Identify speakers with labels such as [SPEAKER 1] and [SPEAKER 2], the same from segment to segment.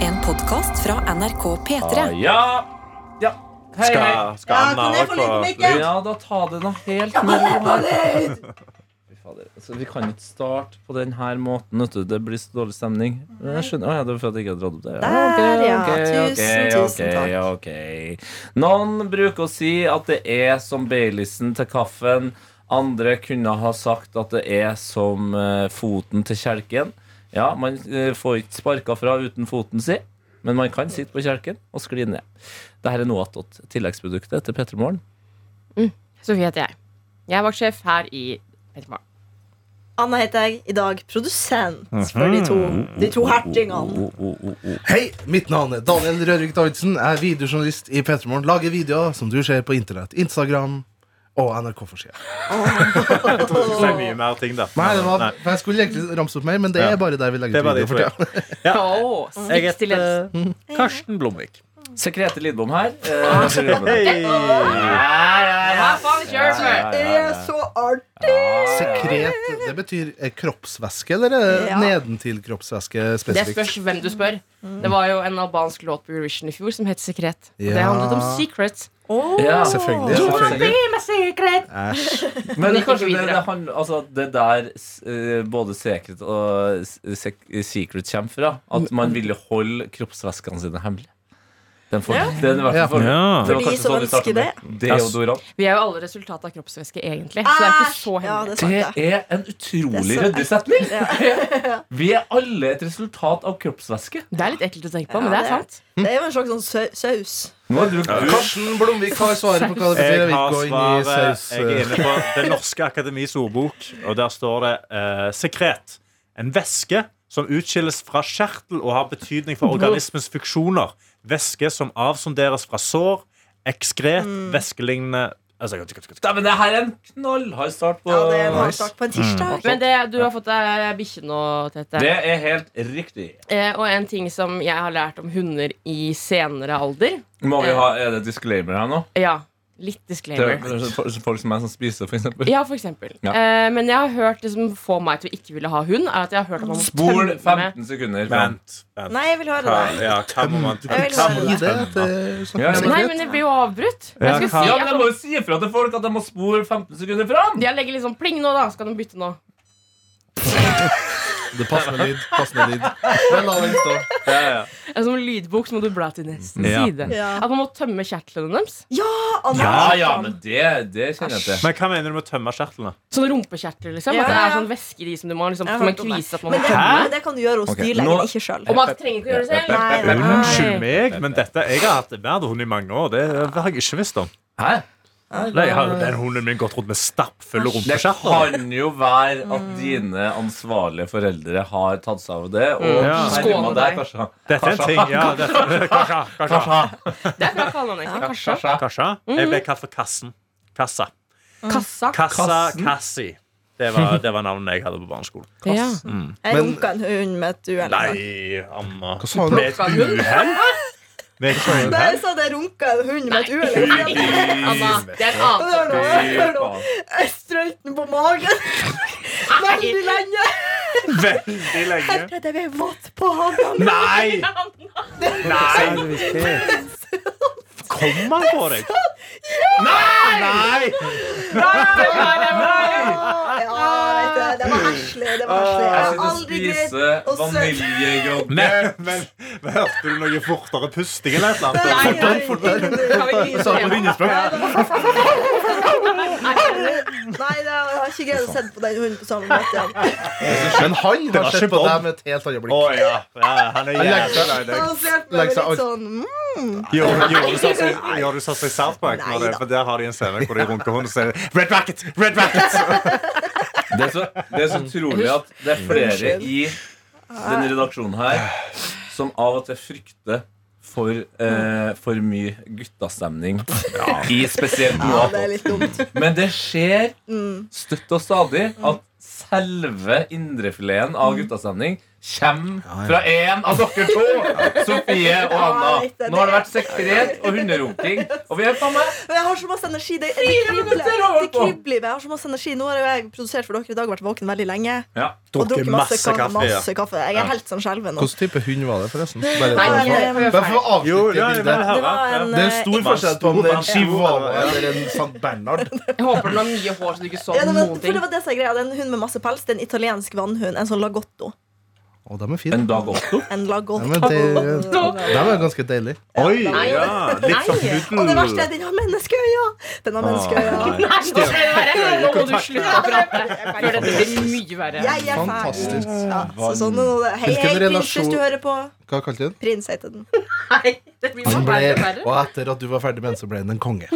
[SPEAKER 1] En podkast fra NRK P3.
[SPEAKER 2] Ja! ja. Hei, hei.
[SPEAKER 3] Skal, skal
[SPEAKER 4] Ja,
[SPEAKER 3] Anna
[SPEAKER 4] kan jeg få
[SPEAKER 3] også
[SPEAKER 4] litt
[SPEAKER 3] få-
[SPEAKER 4] mikken?
[SPEAKER 2] Ja, da ta det nå helt med ro her. Fy fader. Altså, vi kan ikke starte på den her måten. Vet du. Det blir så dårlig stemning. Men Jeg skjønner, Å, ja, Det var fordi jeg ikke hadde dratt opp det.
[SPEAKER 4] Der, ja.
[SPEAKER 2] ok, ok,
[SPEAKER 4] Tusen,
[SPEAKER 2] ok,
[SPEAKER 4] tusen takk.
[SPEAKER 2] ok. Noen bruker å si at det er som Baileysen til kaffen. Andre kunne ha sagt at det er som eh, foten til kjelken. Ja, man eh, får ikke sparka fra uten foten si, men man kan sitte på kjelken og skli ned. Dette er noe attåt tilleggsproduktet til P3 Morgen.
[SPEAKER 5] Sofie heter jeg. Jeg er vaktsjef her i Petermorgen.
[SPEAKER 4] Anna heter jeg. I dag produsent for de to, de to hertingene.
[SPEAKER 6] Hei, mitt navn er Daniel Rørvik Davidsen. Jeg er videojournalist i Petermorgen. Lager videoer som du ser på internett. Instagram og NRK-forsida.
[SPEAKER 3] Jeg tror ikke det er mye mer ting, da.
[SPEAKER 6] Nei, det var,
[SPEAKER 3] Nei.
[SPEAKER 6] for jeg skulle egentlig ramse opp mer, men det er bare der vi
[SPEAKER 3] Det
[SPEAKER 6] legger
[SPEAKER 3] var
[SPEAKER 6] ut
[SPEAKER 3] de
[SPEAKER 6] video
[SPEAKER 3] to. ja.
[SPEAKER 6] for tida.
[SPEAKER 5] Å,
[SPEAKER 7] Jeg
[SPEAKER 5] stikk
[SPEAKER 7] heter
[SPEAKER 5] stille.
[SPEAKER 7] eh, Karsten Blomvik.
[SPEAKER 2] Sekrete Lidbom her.
[SPEAKER 4] Ah,
[SPEAKER 2] eh, programleder.
[SPEAKER 3] Hei!
[SPEAKER 5] Hva faen kjører du med?
[SPEAKER 2] Ja, ja, ja.
[SPEAKER 4] så artig!
[SPEAKER 6] Sekret, det betyr eh, kroppsvæske, eller er det
[SPEAKER 4] Ja.
[SPEAKER 6] nedentil kroppsvæske
[SPEAKER 5] Det
[SPEAKER 6] spesifikt?
[SPEAKER 5] spørs hvem du spør.
[SPEAKER 2] Mm.
[SPEAKER 5] Det var jo en albansk låt på Eurovision i fjor som het Sekret. Og det
[SPEAKER 6] Ja.
[SPEAKER 5] handlet om secrets.
[SPEAKER 2] Ja.
[SPEAKER 4] Oh,
[SPEAKER 6] Selvfølgelig. selvfølgelig. Æsj.
[SPEAKER 2] Men det, kanskje
[SPEAKER 5] Gikk ikke
[SPEAKER 2] det,
[SPEAKER 5] videre.
[SPEAKER 2] det, han, altså, det der s- eh, både Secret og s- sek Secret kommer fra, at man ville holde kroppsvæskene sine hemmelig. Den for, den i hvert fall for,
[SPEAKER 7] Ja.
[SPEAKER 2] det var
[SPEAKER 4] For de
[SPEAKER 2] kanskje
[SPEAKER 4] som
[SPEAKER 2] sånn vi startet
[SPEAKER 4] ønsker
[SPEAKER 2] med Deodorant.
[SPEAKER 5] Vi er jo alle resultat av kroppsvæske, egentlig. Så det er ikke så
[SPEAKER 4] Ja,
[SPEAKER 5] hemmelig.
[SPEAKER 4] det
[SPEAKER 2] Det
[SPEAKER 4] svarte.
[SPEAKER 2] er en utrolig
[SPEAKER 4] Det er så-
[SPEAKER 2] ryddig setning! Vi er alle et resultat av kroppsvæske.
[SPEAKER 5] Det er litt ekkelt å tenke på, men
[SPEAKER 4] Ja,
[SPEAKER 5] det er
[SPEAKER 4] det er-
[SPEAKER 5] sant.
[SPEAKER 4] Det er jo en slags sånn sau- saus.
[SPEAKER 2] Nå har du brukt
[SPEAKER 6] Karsten Blomvik har svaret på hva det betyr.
[SPEAKER 3] Jeg
[SPEAKER 6] Jeg vil
[SPEAKER 3] har
[SPEAKER 6] ikke gå inn i
[SPEAKER 3] svaret.
[SPEAKER 6] saus. eh,
[SPEAKER 3] Jeg er inne på Det norske akademis ordbok, og der står det eh, sekret. En væske som utskilles fra kjertel og har betydning for organismens funksjoner. Væske som avsonderes fra sår. Ekskret,
[SPEAKER 6] Mm.
[SPEAKER 3] væskelignende altså,
[SPEAKER 2] Dæven, det her er en knallhard start på
[SPEAKER 4] Ja, det er en hard start på en tirsdag.
[SPEAKER 5] Men det, du har fått deg bikkje nå, Tete.
[SPEAKER 2] Det er helt riktig.
[SPEAKER 5] Eh, og en ting som jeg har lært om hunder i senere alder
[SPEAKER 2] Må vi ha, er det disclaimer her nå?
[SPEAKER 5] Ja, litt
[SPEAKER 2] Det
[SPEAKER 5] disclaimer.
[SPEAKER 2] er folk som meg som spiser, for eksempel.
[SPEAKER 5] Ja, for eksempel.
[SPEAKER 2] Ja.
[SPEAKER 5] Eh, men jeg har hørt det som får meg til å ikke ville ha hund, er at jeg har hørt at man må
[SPEAKER 2] Spol
[SPEAKER 5] tømme
[SPEAKER 2] 15 sekunder. fram.
[SPEAKER 3] Vent. vent.
[SPEAKER 4] Nei, jeg vil høre
[SPEAKER 3] Hva,
[SPEAKER 4] det.
[SPEAKER 3] ja, hva må man
[SPEAKER 6] Du
[SPEAKER 4] Jeg vil
[SPEAKER 6] kan ikke
[SPEAKER 4] høre
[SPEAKER 6] si
[SPEAKER 4] det.
[SPEAKER 6] det. at det
[SPEAKER 2] Ja,
[SPEAKER 6] snakker
[SPEAKER 2] ja,
[SPEAKER 6] om
[SPEAKER 5] Nei,
[SPEAKER 6] sekret.
[SPEAKER 5] men det blir jo avbrutt.
[SPEAKER 3] Ja,
[SPEAKER 5] Jeg skal
[SPEAKER 3] hva-
[SPEAKER 5] si
[SPEAKER 2] Ja,
[SPEAKER 5] at
[SPEAKER 2] men Jeg må jo si ifra til folk at de må spole 15 sekunder fram!
[SPEAKER 5] jeg legger liksom pling nå, da. Skal de bytte nå?
[SPEAKER 6] Det passer med lyd. Passer med lyd. Men la den stå.
[SPEAKER 5] Det er Som en lydbok så må du bla til neste
[SPEAKER 3] Ja.
[SPEAKER 5] side.
[SPEAKER 4] Ja.
[SPEAKER 5] At man må tømme kjertlene deres.
[SPEAKER 4] Anna,
[SPEAKER 2] Ja, ja, men det, det kjenner jeg til.
[SPEAKER 3] Men hva mener du med å tømme kjertlene?
[SPEAKER 5] Sånn rumpekjertler, liksom.
[SPEAKER 4] Ja,
[SPEAKER 5] At det
[SPEAKER 4] ja,
[SPEAKER 5] er
[SPEAKER 4] ja.
[SPEAKER 5] sånn væske i de som du må liksom,
[SPEAKER 4] Jeg har
[SPEAKER 5] Som en
[SPEAKER 4] hørt om det.
[SPEAKER 5] kvise at man
[SPEAKER 4] men
[SPEAKER 5] må
[SPEAKER 4] det,
[SPEAKER 5] tømme.
[SPEAKER 4] men det kan du gjøre hos
[SPEAKER 2] Ok,
[SPEAKER 4] dyrlegen,
[SPEAKER 2] nå-
[SPEAKER 4] ikke sjøl.
[SPEAKER 5] Og man trenger ikke gjøre det selv.
[SPEAKER 4] Nei, nei,
[SPEAKER 3] Unnskyld
[SPEAKER 4] nei.
[SPEAKER 3] meg, men dette, jeg har hatt en hund i mange år. Det har jeg ikke visst om.
[SPEAKER 2] Hæ?
[SPEAKER 3] Nei, jeg har, den hunden min gått rundt med stappfulle
[SPEAKER 2] Det
[SPEAKER 3] rumpekjertler.
[SPEAKER 2] kan jo være at dine ansvarlige foreldre har tatt seg av det. Og
[SPEAKER 3] Ja.
[SPEAKER 2] skjerma deg,
[SPEAKER 5] Skåne deg.
[SPEAKER 2] kanskje.
[SPEAKER 3] Dette er en ting. Ja, det, kanskje, kanskje,
[SPEAKER 5] Det er bra kallenavn, egentlig. Kanskje.
[SPEAKER 2] Kanskje.
[SPEAKER 3] kanskje. Mm. Jeg ble kalt for Kassen. Kassa. Kassa
[SPEAKER 5] Kassa.
[SPEAKER 2] Kassen?
[SPEAKER 3] Kassi. Det var, det var navnet jeg hadde på barneskolen.
[SPEAKER 5] Ja.
[SPEAKER 4] Jeg
[SPEAKER 6] Men-
[SPEAKER 4] runka en hund med et uhell. en gang.
[SPEAKER 3] Nei, Anna.
[SPEAKER 6] sa du?
[SPEAKER 3] Med et uhell? Med et uhell?
[SPEAKER 4] Nei, jeg sa det runka en hund med et uhell. en gang.
[SPEAKER 5] Anna, det er en annen
[SPEAKER 4] Hør nå, hør nå.
[SPEAKER 2] faen.
[SPEAKER 4] Jeg strølte den på magen veldig lenge.
[SPEAKER 3] Veldig lenge.
[SPEAKER 4] Jeg ble våt på hagen.
[SPEAKER 3] Nei! Nei! Kom han på deg? Nei! Nei!
[SPEAKER 4] Ja, vet du, det var heslig. Det var heslig.
[SPEAKER 2] Jeg
[SPEAKER 4] Jeg har
[SPEAKER 2] sitter og
[SPEAKER 4] aldri greid
[SPEAKER 2] spiser
[SPEAKER 4] å søke-
[SPEAKER 2] vaniljegrøt.
[SPEAKER 3] Men, men, men hørte du noe fortere pusting eller et eller
[SPEAKER 4] Nei,
[SPEAKER 3] annet?
[SPEAKER 4] nei, nei, nei.
[SPEAKER 6] Du sa det på linjespråk.
[SPEAKER 4] Nei, det har- jeg har ikke greid å se på den hunden på samme måte igjen.
[SPEAKER 6] Men han
[SPEAKER 3] var
[SPEAKER 6] har sett
[SPEAKER 3] ikke
[SPEAKER 6] på
[SPEAKER 3] Bob.
[SPEAKER 6] deg med et helt annet
[SPEAKER 3] Å
[SPEAKER 6] blikk.
[SPEAKER 3] ja. ja. Han er
[SPEAKER 6] legger
[SPEAKER 3] jævlig
[SPEAKER 6] seg.
[SPEAKER 3] lei deg.
[SPEAKER 4] Han ser på meg
[SPEAKER 6] Legg seg
[SPEAKER 4] litt
[SPEAKER 6] alt.
[SPEAKER 4] sånn mm.
[SPEAKER 3] Gjorde gjorde du sånn som- gjorde du sånn som i South Park?
[SPEAKER 4] Nei
[SPEAKER 3] Når det,
[SPEAKER 4] da.
[SPEAKER 3] for der har de en scene hvor de runker hunden og sier Red Racket! Red Racket!
[SPEAKER 2] Det er, så, det er så utrolig at det er flere i denne redaksjonen her som av og til frykter for, eh, for mye guttastemning i spesielt
[SPEAKER 4] Ja,
[SPEAKER 2] noe
[SPEAKER 4] det er litt dumt.
[SPEAKER 2] Men det skjer
[SPEAKER 4] Mm.
[SPEAKER 2] støtt og stadig at selve indrefileten
[SPEAKER 4] Mm.
[SPEAKER 2] av guttastemning kommer fra én av dere to! Sofie og Anna.
[SPEAKER 4] Ja, litt av
[SPEAKER 2] Nå har det
[SPEAKER 4] det.
[SPEAKER 2] vært sekret og hunderunking. Og vi er faen meg
[SPEAKER 4] Men jeg har så masse energi. Det, det kribler.
[SPEAKER 2] minutter har vi holdt
[SPEAKER 4] Det
[SPEAKER 2] på.
[SPEAKER 4] kribler. men Jeg har så masse energi. Nå har jo jeg produsert for dere i dag, vært våken veldig lenge.
[SPEAKER 2] ja.
[SPEAKER 4] Og
[SPEAKER 3] Drukker
[SPEAKER 4] drukket masse,
[SPEAKER 3] masse
[SPEAKER 4] ka-
[SPEAKER 3] kaffe. Ja.
[SPEAKER 4] masse kaffe. Jeg er helt sånn skjelven nå.
[SPEAKER 6] Hvilken type hund var det, forresten? Bare,
[SPEAKER 5] Nei,
[SPEAKER 6] bare,
[SPEAKER 5] jeg-
[SPEAKER 6] for,
[SPEAKER 5] jeg-
[SPEAKER 6] bare for å
[SPEAKER 3] Jo,
[SPEAKER 6] avslutte
[SPEAKER 3] ja, jeg vil
[SPEAKER 6] bildet.
[SPEAKER 3] høre.
[SPEAKER 4] Det var en,
[SPEAKER 6] Det er en
[SPEAKER 4] eh,
[SPEAKER 6] stor forskjell på om det er en
[SPEAKER 3] Ja.
[SPEAKER 6] chihuahua eller en St. Bernhard.
[SPEAKER 5] Jeg håper den har mye hår, så du ikke så
[SPEAKER 4] ja, det, var,
[SPEAKER 5] noen
[SPEAKER 4] for
[SPEAKER 5] ting.
[SPEAKER 4] det var det som er greia. Det er en hund med masse pels. Det er en italiensk vannhund. En sånn lagotto.
[SPEAKER 6] Å, de er
[SPEAKER 2] En
[SPEAKER 6] fine.
[SPEAKER 2] dag også.
[SPEAKER 4] En
[SPEAKER 6] Ja,
[SPEAKER 4] lagotto.
[SPEAKER 6] men det, de er ganske deilige.
[SPEAKER 3] Oi, ja, litt som
[SPEAKER 5] Nei.
[SPEAKER 4] Og det verste
[SPEAKER 3] puddel.
[SPEAKER 4] er den har menneskeøyne! Den har
[SPEAKER 3] Ah,
[SPEAKER 4] menneskeøyne.
[SPEAKER 3] nei.
[SPEAKER 5] Nei, nå skal det være! Nå må du slutte å prate. Før dette blir mye verre.
[SPEAKER 4] Jeg er ferdig.
[SPEAKER 6] Fantastisk.
[SPEAKER 4] Ja, så sånn er nå det. Hei,
[SPEAKER 6] Hvilken
[SPEAKER 4] hei, prins,
[SPEAKER 6] relasjon-
[SPEAKER 4] hvis du hører på.
[SPEAKER 6] Hva kalte du den?
[SPEAKER 4] Prins heter den.
[SPEAKER 5] Nei, det blir
[SPEAKER 6] Han
[SPEAKER 5] bare
[SPEAKER 6] ble,
[SPEAKER 5] verre og verre.
[SPEAKER 6] og etter at du var ferdig med den, så ble han en konge.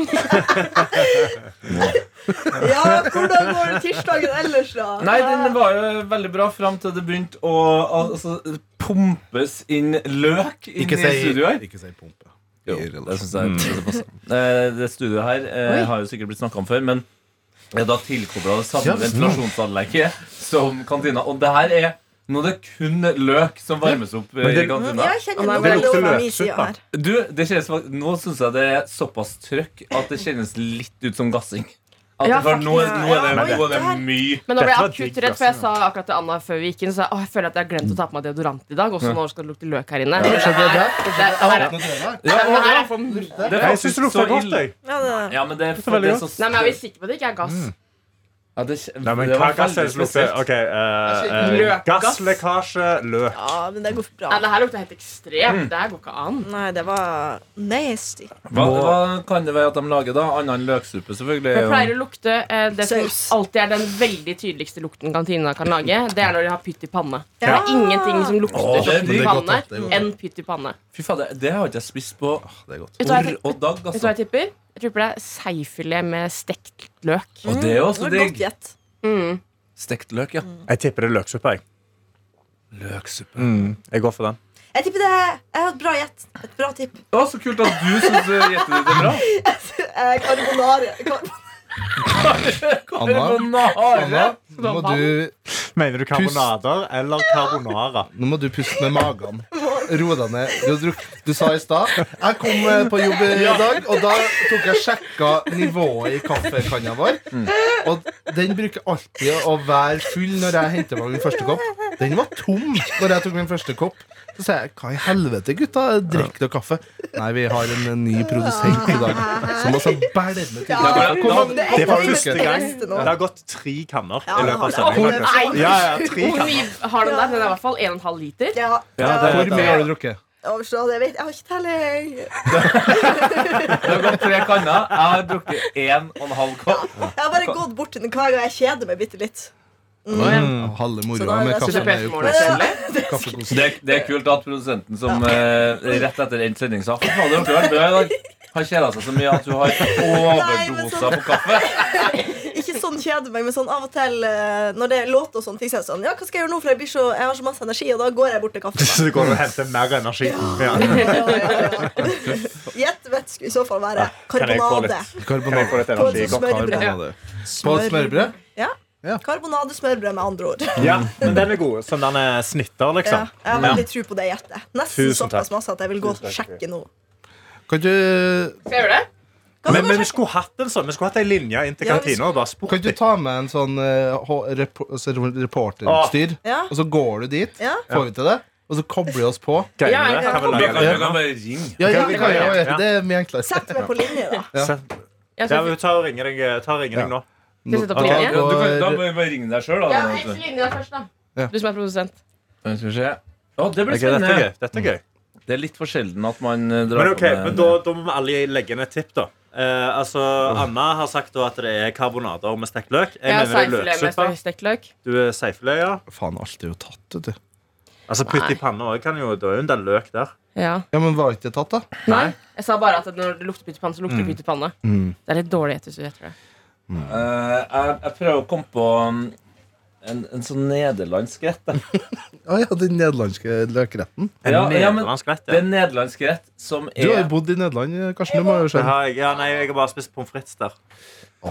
[SPEAKER 4] Ja, hvordan går tirsdagen ellers, da?
[SPEAKER 2] Nei, den var jo veldig bra fram til det begynte å altså, pumpes inn løk inn
[SPEAKER 6] Ikke
[SPEAKER 2] i
[SPEAKER 6] si,
[SPEAKER 2] studio her.
[SPEAKER 6] ikke si pumpe.
[SPEAKER 2] Jo,
[SPEAKER 6] I
[SPEAKER 2] det
[SPEAKER 6] relasjon.
[SPEAKER 2] synes jeg
[SPEAKER 3] Mm.
[SPEAKER 2] det synes jeg passer. Eh, Det studioet her eh, har jo sikkert blitt snakka om før, men jeg er da tilkobla det samme
[SPEAKER 6] Ja.
[SPEAKER 2] ventilasjonsanlegget som kantina. Og det her er nå er det kun løk som varmes opp eh, i
[SPEAKER 3] det-
[SPEAKER 4] Mm,
[SPEAKER 2] kantina.
[SPEAKER 4] Ja, jeg kjenner
[SPEAKER 5] Nei,
[SPEAKER 4] noe
[SPEAKER 5] det
[SPEAKER 4] veldig
[SPEAKER 3] lukter
[SPEAKER 4] over min
[SPEAKER 3] løksuppe.
[SPEAKER 4] side her.
[SPEAKER 2] Du, det kjennes, fakt- Nå syns jeg det er såpass trøkk at det kjennes litt ut som gassing. At
[SPEAKER 5] Ja,
[SPEAKER 2] det var, nå, er- nå er det,
[SPEAKER 4] faktisk.
[SPEAKER 2] nå er det
[SPEAKER 4] Ja, oi,
[SPEAKER 2] mye
[SPEAKER 5] Men
[SPEAKER 3] Dette
[SPEAKER 5] nå ble jeg
[SPEAKER 3] var
[SPEAKER 5] akutt
[SPEAKER 3] digg,
[SPEAKER 5] redd, for jeg
[SPEAKER 3] ass.
[SPEAKER 6] altså.
[SPEAKER 5] sa akkurat til Anna før vi gikk inn. Så jeg, å, jeg føler at jeg har glemt å ta på meg deodorant i dag. Også nå skal det lukte løk her inne. Det
[SPEAKER 6] det
[SPEAKER 5] er-
[SPEAKER 6] der?
[SPEAKER 5] det er- det er-
[SPEAKER 6] Nå tror jeg det.
[SPEAKER 2] Ja,
[SPEAKER 5] det her
[SPEAKER 2] ja,
[SPEAKER 5] er for mye.
[SPEAKER 2] det er
[SPEAKER 3] Nei, Jeg syns
[SPEAKER 2] faktisk
[SPEAKER 3] det lukter
[SPEAKER 2] så
[SPEAKER 3] godt,
[SPEAKER 2] ille.
[SPEAKER 3] jeg.
[SPEAKER 4] Ja, det-
[SPEAKER 2] Ja, men det er,
[SPEAKER 3] veldig
[SPEAKER 2] det er
[SPEAKER 3] godt.
[SPEAKER 2] så
[SPEAKER 5] Nei, men Er vi sikre på at det ikke er
[SPEAKER 6] Mm.
[SPEAKER 5] gass?
[SPEAKER 2] Ja, det, kj-
[SPEAKER 3] Nei, men
[SPEAKER 2] det var
[SPEAKER 3] hva gass er
[SPEAKER 2] veldig
[SPEAKER 3] det som
[SPEAKER 2] spesielt.
[SPEAKER 3] lukter? Ok, eh, eh,
[SPEAKER 5] Løk, gass.
[SPEAKER 3] Gasslekkasje, løk.
[SPEAKER 4] ja, men det går
[SPEAKER 5] Nei,
[SPEAKER 4] bra.
[SPEAKER 5] det her lukter helt
[SPEAKER 6] Mm.
[SPEAKER 5] ekstremt. Det her går ikke an.
[SPEAKER 4] Nei, det var nasty.
[SPEAKER 2] Hva, hva kan det være at de lager, da? Annet enn løksuppe, selvfølgelig.
[SPEAKER 5] Det pleier å lukte eh, det som
[SPEAKER 4] Saus.
[SPEAKER 5] alltid er den veldig tydeligste lukten kantina kan lage. Det er når de har pytt i panne. Det
[SPEAKER 4] Ja.
[SPEAKER 5] er ingenting som
[SPEAKER 2] Å,
[SPEAKER 5] lukter
[SPEAKER 2] det er
[SPEAKER 5] som pytt i
[SPEAKER 6] godt,
[SPEAKER 5] panne
[SPEAKER 6] da. Det er godt.
[SPEAKER 5] enn pytt i panne.
[SPEAKER 2] Fy fader, det har ikke jeg spist på
[SPEAKER 6] Åh, Det er godt.
[SPEAKER 5] Vet du hva
[SPEAKER 2] år
[SPEAKER 5] jeg,
[SPEAKER 2] og dag.
[SPEAKER 5] vet du hva
[SPEAKER 2] Altså.
[SPEAKER 5] jeg tipper? Jeg tipper det er seifilet med stekt løk.
[SPEAKER 2] Og det er jo også
[SPEAKER 4] Det var godt
[SPEAKER 2] digg.
[SPEAKER 4] gjett.
[SPEAKER 5] Mm.
[SPEAKER 2] Stekt løk, ja.
[SPEAKER 3] Jeg tipper det er løksuppe. Jeg.
[SPEAKER 2] Løksuppe.
[SPEAKER 3] Mm, jeg går for den.
[SPEAKER 4] Jeg tipper det Jeg har et bra gjett. Et bra tipp.
[SPEAKER 2] Å, så kult at du syns gjettet ditt er bra.
[SPEAKER 4] Eh, Carbonari. Kar-
[SPEAKER 6] Anna,
[SPEAKER 2] Carbonare.
[SPEAKER 6] nå må du
[SPEAKER 3] Mener du karbonader eller carbonara?
[SPEAKER 6] Nå må du puste med magen. Ro deg ned. Du, har drukket- du sa i stad Jeg kom eh, på jobb i dag, og da tok jeg sjekka nivået i kaffekanna vår. Og den bruker alltid å være full når jeg henter meg min første kopp. Den var tom når jeg tok min første kopp. Så sa jeg hva i helvete, gutta? Drikker dere kaffe? Nei, vi har en eh, ny produsent i dag som altså bælmer til.
[SPEAKER 2] Ja, men
[SPEAKER 6] Hvor
[SPEAKER 2] da-
[SPEAKER 6] mange-
[SPEAKER 4] det er
[SPEAKER 3] Det var
[SPEAKER 4] faktisk
[SPEAKER 3] første
[SPEAKER 4] det
[SPEAKER 3] gang.
[SPEAKER 4] beste nå.
[SPEAKER 3] Det har gått tre kanner
[SPEAKER 4] Ja,
[SPEAKER 3] i
[SPEAKER 4] det
[SPEAKER 3] løpet
[SPEAKER 4] har
[SPEAKER 3] av
[SPEAKER 4] det.
[SPEAKER 3] sendingen.
[SPEAKER 5] Nei,
[SPEAKER 3] Ja, ja, tre
[SPEAKER 5] Hvor
[SPEAKER 3] kanner.
[SPEAKER 5] mye har den der? Den er i hvert fall 1,5 liter.
[SPEAKER 4] Ja,
[SPEAKER 3] Ja,
[SPEAKER 4] ja,
[SPEAKER 3] det-
[SPEAKER 6] Hvor mye har du drukket?
[SPEAKER 4] Å, så det vet jeg. jeg har ikke telling.
[SPEAKER 2] Det har gått tre kanner. Jeg har drukket én og en halv kopp.
[SPEAKER 4] Jeg har bare gått bort til den hver gang jeg kjeder meg bitte litt.
[SPEAKER 6] Mm, halve
[SPEAKER 4] Så da
[SPEAKER 6] moroa
[SPEAKER 4] er
[SPEAKER 6] med
[SPEAKER 4] det-
[SPEAKER 5] Synes
[SPEAKER 6] kaffen
[SPEAKER 5] jeg
[SPEAKER 6] er
[SPEAKER 5] P4
[SPEAKER 6] jo på
[SPEAKER 5] Morgen er kjedelig?
[SPEAKER 6] kaffekosen.
[SPEAKER 2] Det, det er kult at produsenten som eh, rett etter endt sending sa Fy fader, dere har vært bra i dag. Har kjeda seg så mye at du har overdosa
[SPEAKER 5] sånn-
[SPEAKER 2] på kaffe.
[SPEAKER 4] Ikke sånn kjeder meg, men sånn av og til eh, når det er låter og sånn, tenker jeg sånn Ja, hva skal jeg gjøre nå, for jeg, blir så, jeg har så masse energi, og da går jeg bort til kaffen.
[SPEAKER 3] Så går du og henter mer energi. Ja.
[SPEAKER 4] Gjett vet skulle i så fall være
[SPEAKER 3] Kan jeg få
[SPEAKER 4] karbonade.
[SPEAKER 3] litt, kan jeg
[SPEAKER 6] Karbonade.
[SPEAKER 3] få litt energi?
[SPEAKER 4] På smørbrød.
[SPEAKER 6] Karbonade. På et smørbrød?
[SPEAKER 4] Ja.
[SPEAKER 6] Ja.
[SPEAKER 4] Karbonadesmørbrød, med andre ord.
[SPEAKER 3] Ja, men den er god. Som den er snitter,
[SPEAKER 4] Ja,
[SPEAKER 3] liksom.
[SPEAKER 4] jeg har veldig tro på det gjettet. Nesten
[SPEAKER 3] Tusen takk.
[SPEAKER 4] såpass masse at jeg vil gå og sjekke nå.
[SPEAKER 6] Kan
[SPEAKER 5] Skal
[SPEAKER 6] du
[SPEAKER 5] jeg gjøre det?
[SPEAKER 4] Kan
[SPEAKER 3] Men,
[SPEAKER 4] du gå
[SPEAKER 3] men vi
[SPEAKER 4] og sjekke?
[SPEAKER 3] skulle hatt en sånn Vi skulle hatt ei linje inn til
[SPEAKER 4] Ja, vi
[SPEAKER 3] kantina og bare spurt
[SPEAKER 6] Kan ikke du ta med en sånn eh, ho- repo- altså, reporterutstyr,
[SPEAKER 4] Ja.
[SPEAKER 6] og så går du dit,
[SPEAKER 4] Ja.
[SPEAKER 6] får vi til det, og så kobler vi oss på.
[SPEAKER 3] Kan
[SPEAKER 5] Ja,
[SPEAKER 3] vi-
[SPEAKER 5] ja.
[SPEAKER 3] kan vi
[SPEAKER 2] Du
[SPEAKER 3] lage
[SPEAKER 2] kan,
[SPEAKER 3] en
[SPEAKER 2] du
[SPEAKER 3] linje?
[SPEAKER 2] kan bare ringe.
[SPEAKER 6] Ja, ja,
[SPEAKER 3] vi kan
[SPEAKER 6] det kan jeg
[SPEAKER 3] gjøre,
[SPEAKER 6] gjøre.
[SPEAKER 3] ja.
[SPEAKER 6] Det er mye enklere.
[SPEAKER 4] Sett meg på linje, da.
[SPEAKER 6] Ja.
[SPEAKER 3] Send-
[SPEAKER 5] Jeg
[SPEAKER 3] Ja,
[SPEAKER 5] skal
[SPEAKER 3] men ta og ringe deg, ta og ringe deg nå.
[SPEAKER 6] Ja.
[SPEAKER 5] Skal jeg sette opp
[SPEAKER 3] Ok.
[SPEAKER 5] linje?
[SPEAKER 2] Du kan, da må vi bare ringe deg sjøl,
[SPEAKER 5] Ja,
[SPEAKER 2] da.
[SPEAKER 5] jeg skal ringe deg først,
[SPEAKER 6] Ja.
[SPEAKER 5] da. Du som er produsent.
[SPEAKER 2] Men Skal vi se. Å, det blir
[SPEAKER 3] Ok, dette er
[SPEAKER 2] spennende.
[SPEAKER 3] gøy. Dette er gøy.
[SPEAKER 2] Det er litt for sjelden at man eh, drar
[SPEAKER 3] Men ok,
[SPEAKER 2] på
[SPEAKER 3] men da, da må vi alle legge inn et tipp, da. Eh, altså, Anna har sagt da at det er karbonader med stekt løk. Jeg,
[SPEAKER 5] Jeg har
[SPEAKER 3] mener det er
[SPEAKER 5] seifilet
[SPEAKER 3] løksuppe.
[SPEAKER 5] med stekt løk.
[SPEAKER 3] Du er seifilet, ja.
[SPEAKER 6] Faen, alt er jo tatt, vet du.
[SPEAKER 3] Altså, Putt i panna òg kan jo Da er jo en del løk der.
[SPEAKER 5] Ja.
[SPEAKER 6] Ja, men var ikke det tatt, da?
[SPEAKER 5] Nei. Jeg sa bare at når det lukter pytt i panne, så lukter det pytt i panne. Det er litt dårlig etter studiet, tror jeg.
[SPEAKER 2] Eh, jeg, jeg prøver å komme på um, en, en sånn nederlandsk rett. da.
[SPEAKER 6] Ja, ja, den nederlandske løkretten.
[SPEAKER 3] En
[SPEAKER 2] Ja, ja, men
[SPEAKER 3] nederlandsk rett,
[SPEAKER 2] Det er
[SPEAKER 3] ja.
[SPEAKER 2] en nederlandsk rett som
[SPEAKER 6] Du har
[SPEAKER 2] er
[SPEAKER 6] jo bodd i Nederland, Karsten. Du må jo
[SPEAKER 3] Det
[SPEAKER 6] skjønne.
[SPEAKER 3] har jeg, ja, nei, jeg har bare spist pommes frites der.
[SPEAKER 2] Nei,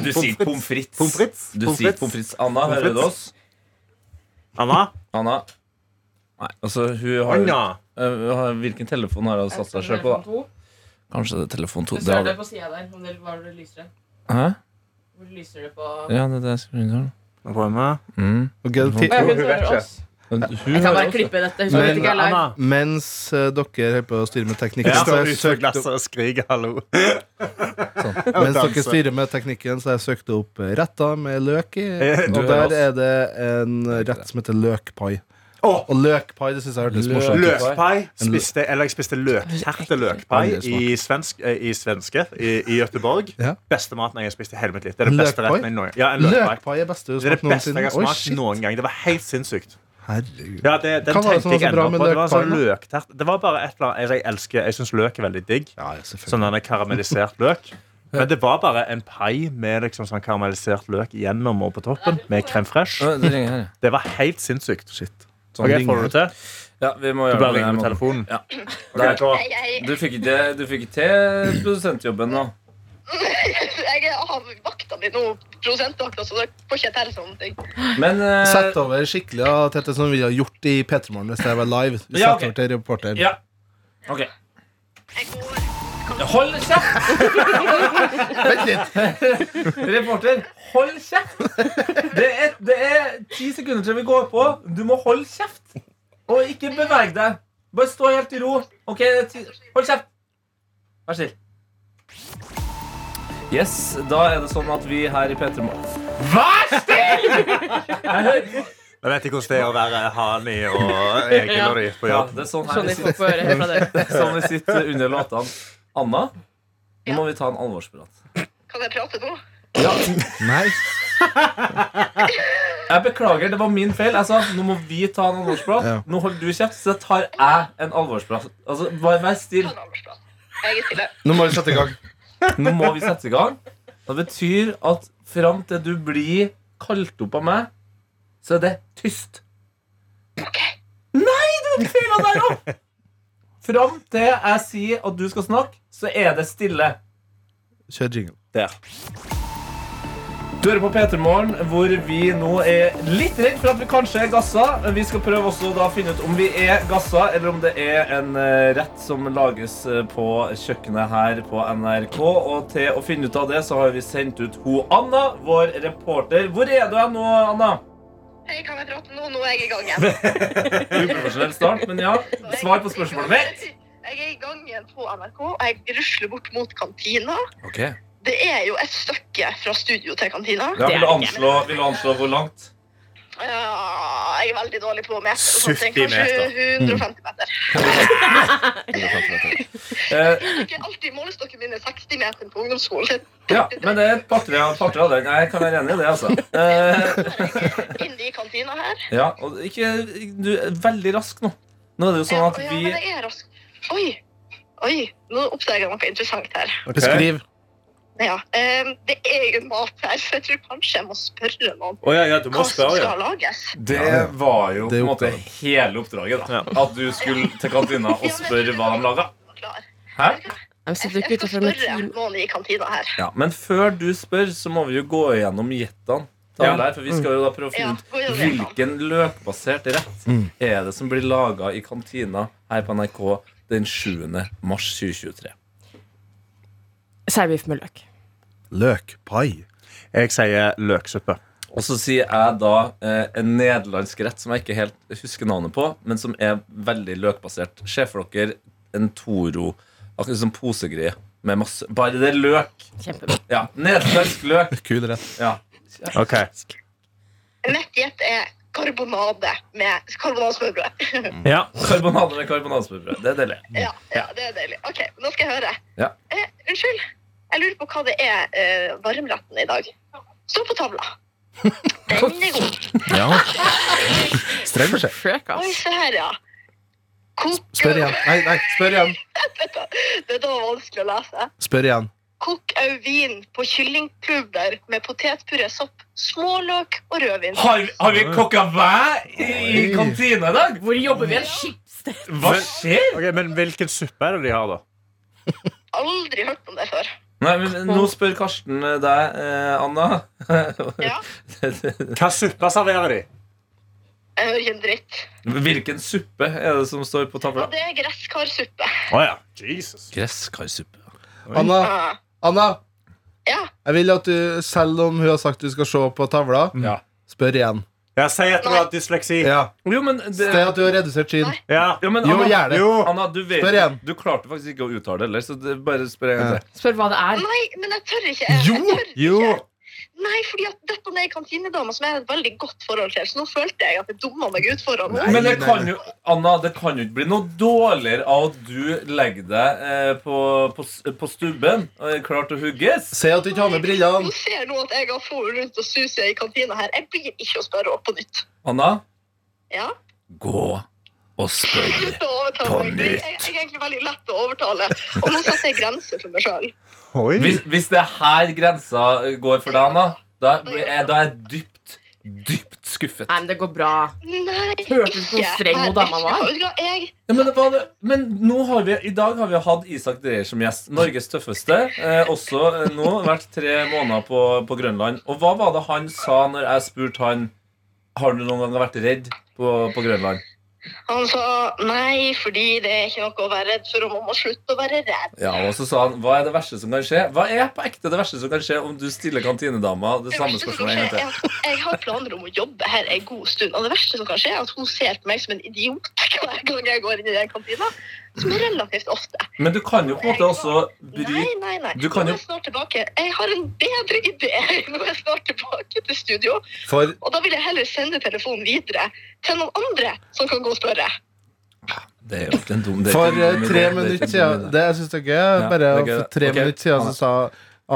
[SPEAKER 2] du sier pommes frites.
[SPEAKER 8] Pommes frites?
[SPEAKER 2] Du
[SPEAKER 8] Pommes
[SPEAKER 2] sier
[SPEAKER 8] frites?
[SPEAKER 2] pommes frites. Anna, hører du oss?
[SPEAKER 3] Anna?
[SPEAKER 2] Anna? Nei, altså, hun har
[SPEAKER 3] Anna.
[SPEAKER 2] Eh, har- Hvilken telefon har hun satt seg selv på? da? Kanskje det er telefon 2.
[SPEAKER 5] Du ser det på sida der. Om det var det lysere.
[SPEAKER 2] Hæ?
[SPEAKER 5] Hvor lyser det på
[SPEAKER 2] Ja, det er det jeg skulle gjøre.
[SPEAKER 3] Nå prøver vi.
[SPEAKER 2] Mm.
[SPEAKER 6] Ok, ti-
[SPEAKER 5] Å, ja, hun
[SPEAKER 8] Hun vet
[SPEAKER 5] hører
[SPEAKER 8] ikke.
[SPEAKER 5] oss.
[SPEAKER 2] Men
[SPEAKER 5] Jeg
[SPEAKER 2] Hun
[SPEAKER 5] kan
[SPEAKER 2] hører
[SPEAKER 5] bare
[SPEAKER 2] oss. da.
[SPEAKER 5] klippe dette. Hun vet ikke jeg er live.
[SPEAKER 3] Anna.
[SPEAKER 6] Mens eh, dere holder på å styre med teknikken,
[SPEAKER 3] Ja,
[SPEAKER 6] så har
[SPEAKER 8] Står
[SPEAKER 6] jeg
[SPEAKER 8] utenfor
[SPEAKER 6] søkt opp,
[SPEAKER 8] glasset og skriker 'hallo'.
[SPEAKER 6] mens
[SPEAKER 8] danser.
[SPEAKER 6] dere styrer med teknikken, så har jeg søkt opp eh, retter med løk i.
[SPEAKER 3] Eh,
[SPEAKER 6] Og der er det en rett som heter løkpai.
[SPEAKER 3] Å!
[SPEAKER 6] Og løkpai det syns jeg hørtes
[SPEAKER 2] Løk.
[SPEAKER 6] morsomt ut.
[SPEAKER 3] Løkpai spiste Eller jeg spiste løkterteløkpai
[SPEAKER 6] Veldig smak.
[SPEAKER 3] i, svensk, eh, i svenske i, i Göteborg.
[SPEAKER 6] Ja.
[SPEAKER 3] Beste maten jeg har spist i hele mitt liv. Det er den beste
[SPEAKER 6] Løkpai?
[SPEAKER 3] retten jeg noen ja, en løkpai.
[SPEAKER 6] Løkpai er beste du
[SPEAKER 3] Det
[SPEAKER 6] har
[SPEAKER 3] er
[SPEAKER 6] smakt
[SPEAKER 3] det beste jeg
[SPEAKER 6] noensinne.
[SPEAKER 3] har
[SPEAKER 6] Oi,
[SPEAKER 3] smakt
[SPEAKER 6] shit.
[SPEAKER 3] noen gang. Det var helt sinnssykt.
[SPEAKER 6] Herregud.
[SPEAKER 3] Ja, det, den
[SPEAKER 6] Hva var det som
[SPEAKER 3] tenkte jeg
[SPEAKER 6] var så bra
[SPEAKER 3] ennå
[SPEAKER 6] med
[SPEAKER 3] på. Det var sånn
[SPEAKER 6] løkpai,
[SPEAKER 3] løktert Det var bare et eller annet Jeg, jeg elsker Jeg syns løk er veldig digg.
[SPEAKER 6] Ja, ja, selvfølgelig.
[SPEAKER 3] Sånn denne karamellisert løk. Men det var bare en pai med liksom sånn karamellisert løk gjennom og på toppen. Med crème fraiche.
[SPEAKER 2] Å, Det ringer her. ja.
[SPEAKER 3] Det var helt sinnssykt. Shit. ok,
[SPEAKER 6] Sånn
[SPEAKER 3] Får du
[SPEAKER 6] ringer.
[SPEAKER 3] det til?
[SPEAKER 2] Ja, vi må
[SPEAKER 3] Du
[SPEAKER 2] gjøre
[SPEAKER 3] bare
[SPEAKER 2] det.
[SPEAKER 3] ringer
[SPEAKER 2] her
[SPEAKER 3] med
[SPEAKER 2] måten.
[SPEAKER 3] telefonen.
[SPEAKER 2] Ja.
[SPEAKER 3] Ok, gå.
[SPEAKER 9] Nei, jeg,
[SPEAKER 2] Du fikk ikke, du fikk ikke til produsentjobben nå.
[SPEAKER 9] jeg har vakta di nå, prosentvakta, så da får ikke jeg til sånne ting.
[SPEAKER 2] Men eh,
[SPEAKER 6] Sett over skikkelig ja, Tete, som vi har gjort i P3 Morgen hvis jeg var live. Sett
[SPEAKER 2] Ja, ok.
[SPEAKER 6] over til reporter.
[SPEAKER 2] Ja. OK.
[SPEAKER 9] Jeg går.
[SPEAKER 2] Hold kjeft,
[SPEAKER 6] Vent litt!
[SPEAKER 2] reporter! Hold kjeft! Det er, det er ti sekunder til vi går på. Du må holde kjeft. Og ikke bevege deg. Bare stå helt i ro. OK, det er ti- hold kjeft. Vær snill. Yes, da er det sånn at vi her i P3 Vær stille!
[SPEAKER 3] Jeg vet ikke hvordan det er å være Hani og Egil og de på
[SPEAKER 2] Ja,
[SPEAKER 3] jobb.
[SPEAKER 2] det er sånn her
[SPEAKER 5] Sånn
[SPEAKER 2] vi
[SPEAKER 5] de får få høre fra dere.
[SPEAKER 2] sitter, sånn vi sitter under låtene. Anna, nå må vi ta en alvorsprat.
[SPEAKER 9] Kan jeg prate nå?
[SPEAKER 6] Nei.
[SPEAKER 2] Jeg beklager, det var min feil. Jeg sa nå må vi ta en alvorsprat.
[SPEAKER 6] Ja.
[SPEAKER 2] Nå holder du kjeft, så tar jeg en alvorsprat. Altså, Bare vær
[SPEAKER 9] Ta
[SPEAKER 2] stille.
[SPEAKER 9] en alvorsprat. Jeg er stille.
[SPEAKER 6] Nå må vi sette i gang.
[SPEAKER 2] Nå må vi sette i gang. Det betyr at fram til du blir kalt opp av meg, så er det tyst. Nei, du feila der òg! Fram til jeg sier at du skal snakke, så er det stille.
[SPEAKER 6] Kjør jingle.
[SPEAKER 2] Du hører på P3morgen, hvor vi nå er litt redd for at vi kanskje er gassa. Vi skal prøve også da å finne ut om vi er gassa, eller om det er en eh, rett som lages eh, på kjøkkenet her på NRK. Og til å finne ut av det, så har vi sendt ut ho Anna, vår reporter. Hvor er du nå, Anna?
[SPEAKER 9] Hei, kan jeg prate nå? Nå er jeg i gang igjen.
[SPEAKER 2] Uprofesjonell start, men ja. Svar på spørsmålet mitt.
[SPEAKER 9] Jeg er i gang igjen på NRK, og jeg rusler bort mot kantina.
[SPEAKER 2] Okay.
[SPEAKER 9] Det er jo et stykke fra studio til kantina.
[SPEAKER 2] Ja, vil, du anslå, vil du anslå hvor langt?
[SPEAKER 9] Ja, jeg er veldig dårlig på meter. og sånne ting.
[SPEAKER 3] 70 meter.
[SPEAKER 9] Kanskje 150 meter.
[SPEAKER 2] Eh,
[SPEAKER 9] Ikke alltid målestokken min er 60 meter på ungdomsskolen.
[SPEAKER 2] ja, men det er et par-tre par-tre av den. Jeg kan være enig i det, altså. Eh,
[SPEAKER 9] Inne i kantina her.
[SPEAKER 2] Ja, og ikke, du er veldig rask nå. Nå er det jo sånn at
[SPEAKER 9] ja,
[SPEAKER 2] vi
[SPEAKER 9] men jeg er rask. Oi, oi, nå oppdager jeg noe interessant her.
[SPEAKER 6] Beskriv.
[SPEAKER 9] Ja, eh, det er jo mat her, så jeg tror kanskje jeg må spørre noen
[SPEAKER 3] Å ja, ja, du må
[SPEAKER 9] hva som
[SPEAKER 3] spørre, ja.
[SPEAKER 9] skal lages.
[SPEAKER 2] Det var jo
[SPEAKER 6] Det er
[SPEAKER 2] på en måte
[SPEAKER 6] oppgaven.
[SPEAKER 2] hele oppdraget. da At du skulle til kantina og spørre hva de laga.
[SPEAKER 9] Klar.
[SPEAKER 2] Hæ?
[SPEAKER 5] Jeg
[SPEAKER 9] Jeg
[SPEAKER 5] sitter ikke
[SPEAKER 9] jeg skal
[SPEAKER 5] utenfor med
[SPEAKER 9] spørre
[SPEAKER 5] team.
[SPEAKER 9] noen i kantina her.
[SPEAKER 2] Ja, men før du spør, så må vi jo gå igjennom gjettene. til
[SPEAKER 3] Ja.
[SPEAKER 2] alle her, For vi skal jo da prøve å finne
[SPEAKER 9] Ja,
[SPEAKER 2] ut
[SPEAKER 9] gå gjennom gjettene.
[SPEAKER 2] hvilken løkbasert rett er det som blir laga i kantina her på NRK den 7. mars 2023.
[SPEAKER 5] Seibiff med løk.
[SPEAKER 6] Løkpai.
[SPEAKER 3] Jeg sier løksuppe.
[SPEAKER 2] Og så sier jeg da eh, en nederlandsk rett som jeg ikke helt husker navnet på, men som er veldig løkbasert. Se for dere en Toro, akkurat som posegreie, med masse Bare det er løk!
[SPEAKER 5] Kjempebra.
[SPEAKER 2] Ja, nederlandsk løk.
[SPEAKER 6] Kul rett.
[SPEAKER 2] Ja.
[SPEAKER 3] Ok,
[SPEAKER 9] Mitt gjett er karbonade med karbonadesmørbrød.
[SPEAKER 3] ja
[SPEAKER 2] Karbonade med karbonadesmørbrød. Det er deilig.
[SPEAKER 9] ja, ja, det er deilig. Ok, nå skal jeg høre.
[SPEAKER 2] Ja.
[SPEAKER 9] Eh, unnskyld, jeg lurer på hva det er eh, varmretten i dag. Stå på tavla. Den er god.
[SPEAKER 6] Ja. Streng beskjed.
[SPEAKER 5] Frøk,
[SPEAKER 9] Oi,
[SPEAKER 5] ass.
[SPEAKER 9] se her, ja.
[SPEAKER 6] Spør
[SPEAKER 9] Kokau
[SPEAKER 6] igjen. Nei, nei, spør igjen.
[SPEAKER 9] Det var vanskelig å lese.
[SPEAKER 6] Spør igjen.
[SPEAKER 9] Kokau vin på kyllingklubber med potetpuré, sopp, småløk og rødvin.
[SPEAKER 2] Har, har vi kokka vær i, i kantina i dag?
[SPEAKER 5] Hvor jobber vi? Et skipssted?
[SPEAKER 2] Hva skjer?
[SPEAKER 3] Ok, Men hvilken suppe er det de har, da?
[SPEAKER 9] Aldri hørt om det før.
[SPEAKER 2] Nei, men Nå spør Karsten eh, deg, eh, Anna.
[SPEAKER 9] Ja.
[SPEAKER 3] Hva suppe serverer de?
[SPEAKER 9] Jeg hører ikke en dritt.
[SPEAKER 2] Hvilken suppe er det som står på tavla?
[SPEAKER 9] Og det er gresskarsuppe.
[SPEAKER 3] Å ja. Jesus.
[SPEAKER 2] Gresskarsuppe.
[SPEAKER 6] Anna,
[SPEAKER 9] Ah,
[SPEAKER 6] Anna,
[SPEAKER 9] Ja.
[SPEAKER 6] jeg vil at du, selv om hun har sagt du skal se på tavla,
[SPEAKER 2] Mm.
[SPEAKER 3] Ja.
[SPEAKER 6] spør igjen.
[SPEAKER 3] Jeg sier at du har dysleksi.
[SPEAKER 6] Ja.
[SPEAKER 2] Jo, men, det,
[SPEAKER 6] Sted at du har redusert skinn.
[SPEAKER 9] Nei.
[SPEAKER 3] Ja.
[SPEAKER 2] jo, men
[SPEAKER 6] Jo,
[SPEAKER 2] Anna,
[SPEAKER 6] gjerne.
[SPEAKER 3] Jo.
[SPEAKER 2] Anna du, vet,
[SPEAKER 6] Spør igjen.
[SPEAKER 2] du klarte faktisk ikke å uttale det heller, så det, bare spør en gang til.
[SPEAKER 5] Spør hva det er.
[SPEAKER 9] Nei, men jeg tør ikke. Jeg,
[SPEAKER 6] Jo,
[SPEAKER 9] jeg tør ikke.
[SPEAKER 3] Jo.
[SPEAKER 9] Nei, fordi at dette er ei kantinedame som jeg har et veldig godt forhold til, så nå følte jeg at jeg dumma meg ut foran henne.
[SPEAKER 2] Men det
[SPEAKER 6] nei,
[SPEAKER 2] kan
[SPEAKER 6] nei.
[SPEAKER 2] jo Anna, det kan jo ikke bli noe dårligere av at du legger deg eh, på, på, s- på stubben og er klar til å hugges.
[SPEAKER 6] Si at du ikke har med brillene.
[SPEAKER 9] Hun ser nå at jeg har fôr rundt og suser i kantina her. Jeg blir ikke å spørre opp på nytt.
[SPEAKER 2] Anna,
[SPEAKER 9] Ja?
[SPEAKER 2] gå og spør.
[SPEAKER 9] Slutt å overtale
[SPEAKER 2] På
[SPEAKER 9] meg.
[SPEAKER 2] nytt.
[SPEAKER 9] Jeg, jeg er egentlig veldig lett å overtale. Og nå setter jeg grenser for meg sjøl.
[SPEAKER 3] Oi.
[SPEAKER 2] Hvis, hvis det er her grensa går for deg, Anna, da er, da er jeg dypt, dypt skuffet.
[SPEAKER 5] Nei, men det går bra.
[SPEAKER 9] Nei,
[SPEAKER 5] Hørte du hvor streng hun dama var?
[SPEAKER 9] Vet du hva, Jeg,
[SPEAKER 2] Ja, men, hva, det- men nå har vi, i dag har vi hatt Isak Dreyer som gjest. Norges tøffeste. Eh, også eh, nå vært tre måneder på, på Grønland. Og hva var det han sa når jeg spurte han Har du noen gang vært redd på, på Grønland?
[SPEAKER 9] han sa nei, fordi det er ikke noe å være redd for, og man må slutte å være redd.
[SPEAKER 2] Ja, Og så sa han hva er det verste som kan skje? Hva er på ekte det verste som kan skje om du stiller kantinedama det
[SPEAKER 9] Det
[SPEAKER 2] samme
[SPEAKER 9] verste som
[SPEAKER 2] spørsmålet en
[SPEAKER 9] kan
[SPEAKER 2] gang
[SPEAKER 9] skje
[SPEAKER 2] til?
[SPEAKER 9] er at Jeg har planer om å jobbe her en god stund, og det verste som kan skje, er at hun ser på meg som en idiot hver gang jeg går inn i den kantina. Som er relativt ofte.
[SPEAKER 2] Men du kan jo på en måte også
[SPEAKER 9] Nei,
[SPEAKER 2] bry
[SPEAKER 9] nei, nei.
[SPEAKER 2] Du kan jo-
[SPEAKER 9] Nå er jeg snart tilbake. Jeg har en bedre idé. Nå er jeg snart tilbake til studio.
[SPEAKER 6] For
[SPEAKER 9] Og da vil jeg heller sende telefonen videre til noen andre som kan gå og spørre.
[SPEAKER 2] Det er jo ikke en dum det er
[SPEAKER 6] For
[SPEAKER 2] ikke en dum
[SPEAKER 6] eh,
[SPEAKER 2] idé,
[SPEAKER 6] tre
[SPEAKER 2] det er ikke en
[SPEAKER 6] minutter
[SPEAKER 2] dum
[SPEAKER 6] siden
[SPEAKER 2] idé.
[SPEAKER 6] Det jeg synes det er gøy.
[SPEAKER 2] Ja,
[SPEAKER 6] Bare
[SPEAKER 2] det er gøy,
[SPEAKER 6] for
[SPEAKER 2] det.
[SPEAKER 6] tre
[SPEAKER 2] Ok,
[SPEAKER 6] minutter siden
[SPEAKER 2] Anne.
[SPEAKER 6] så sa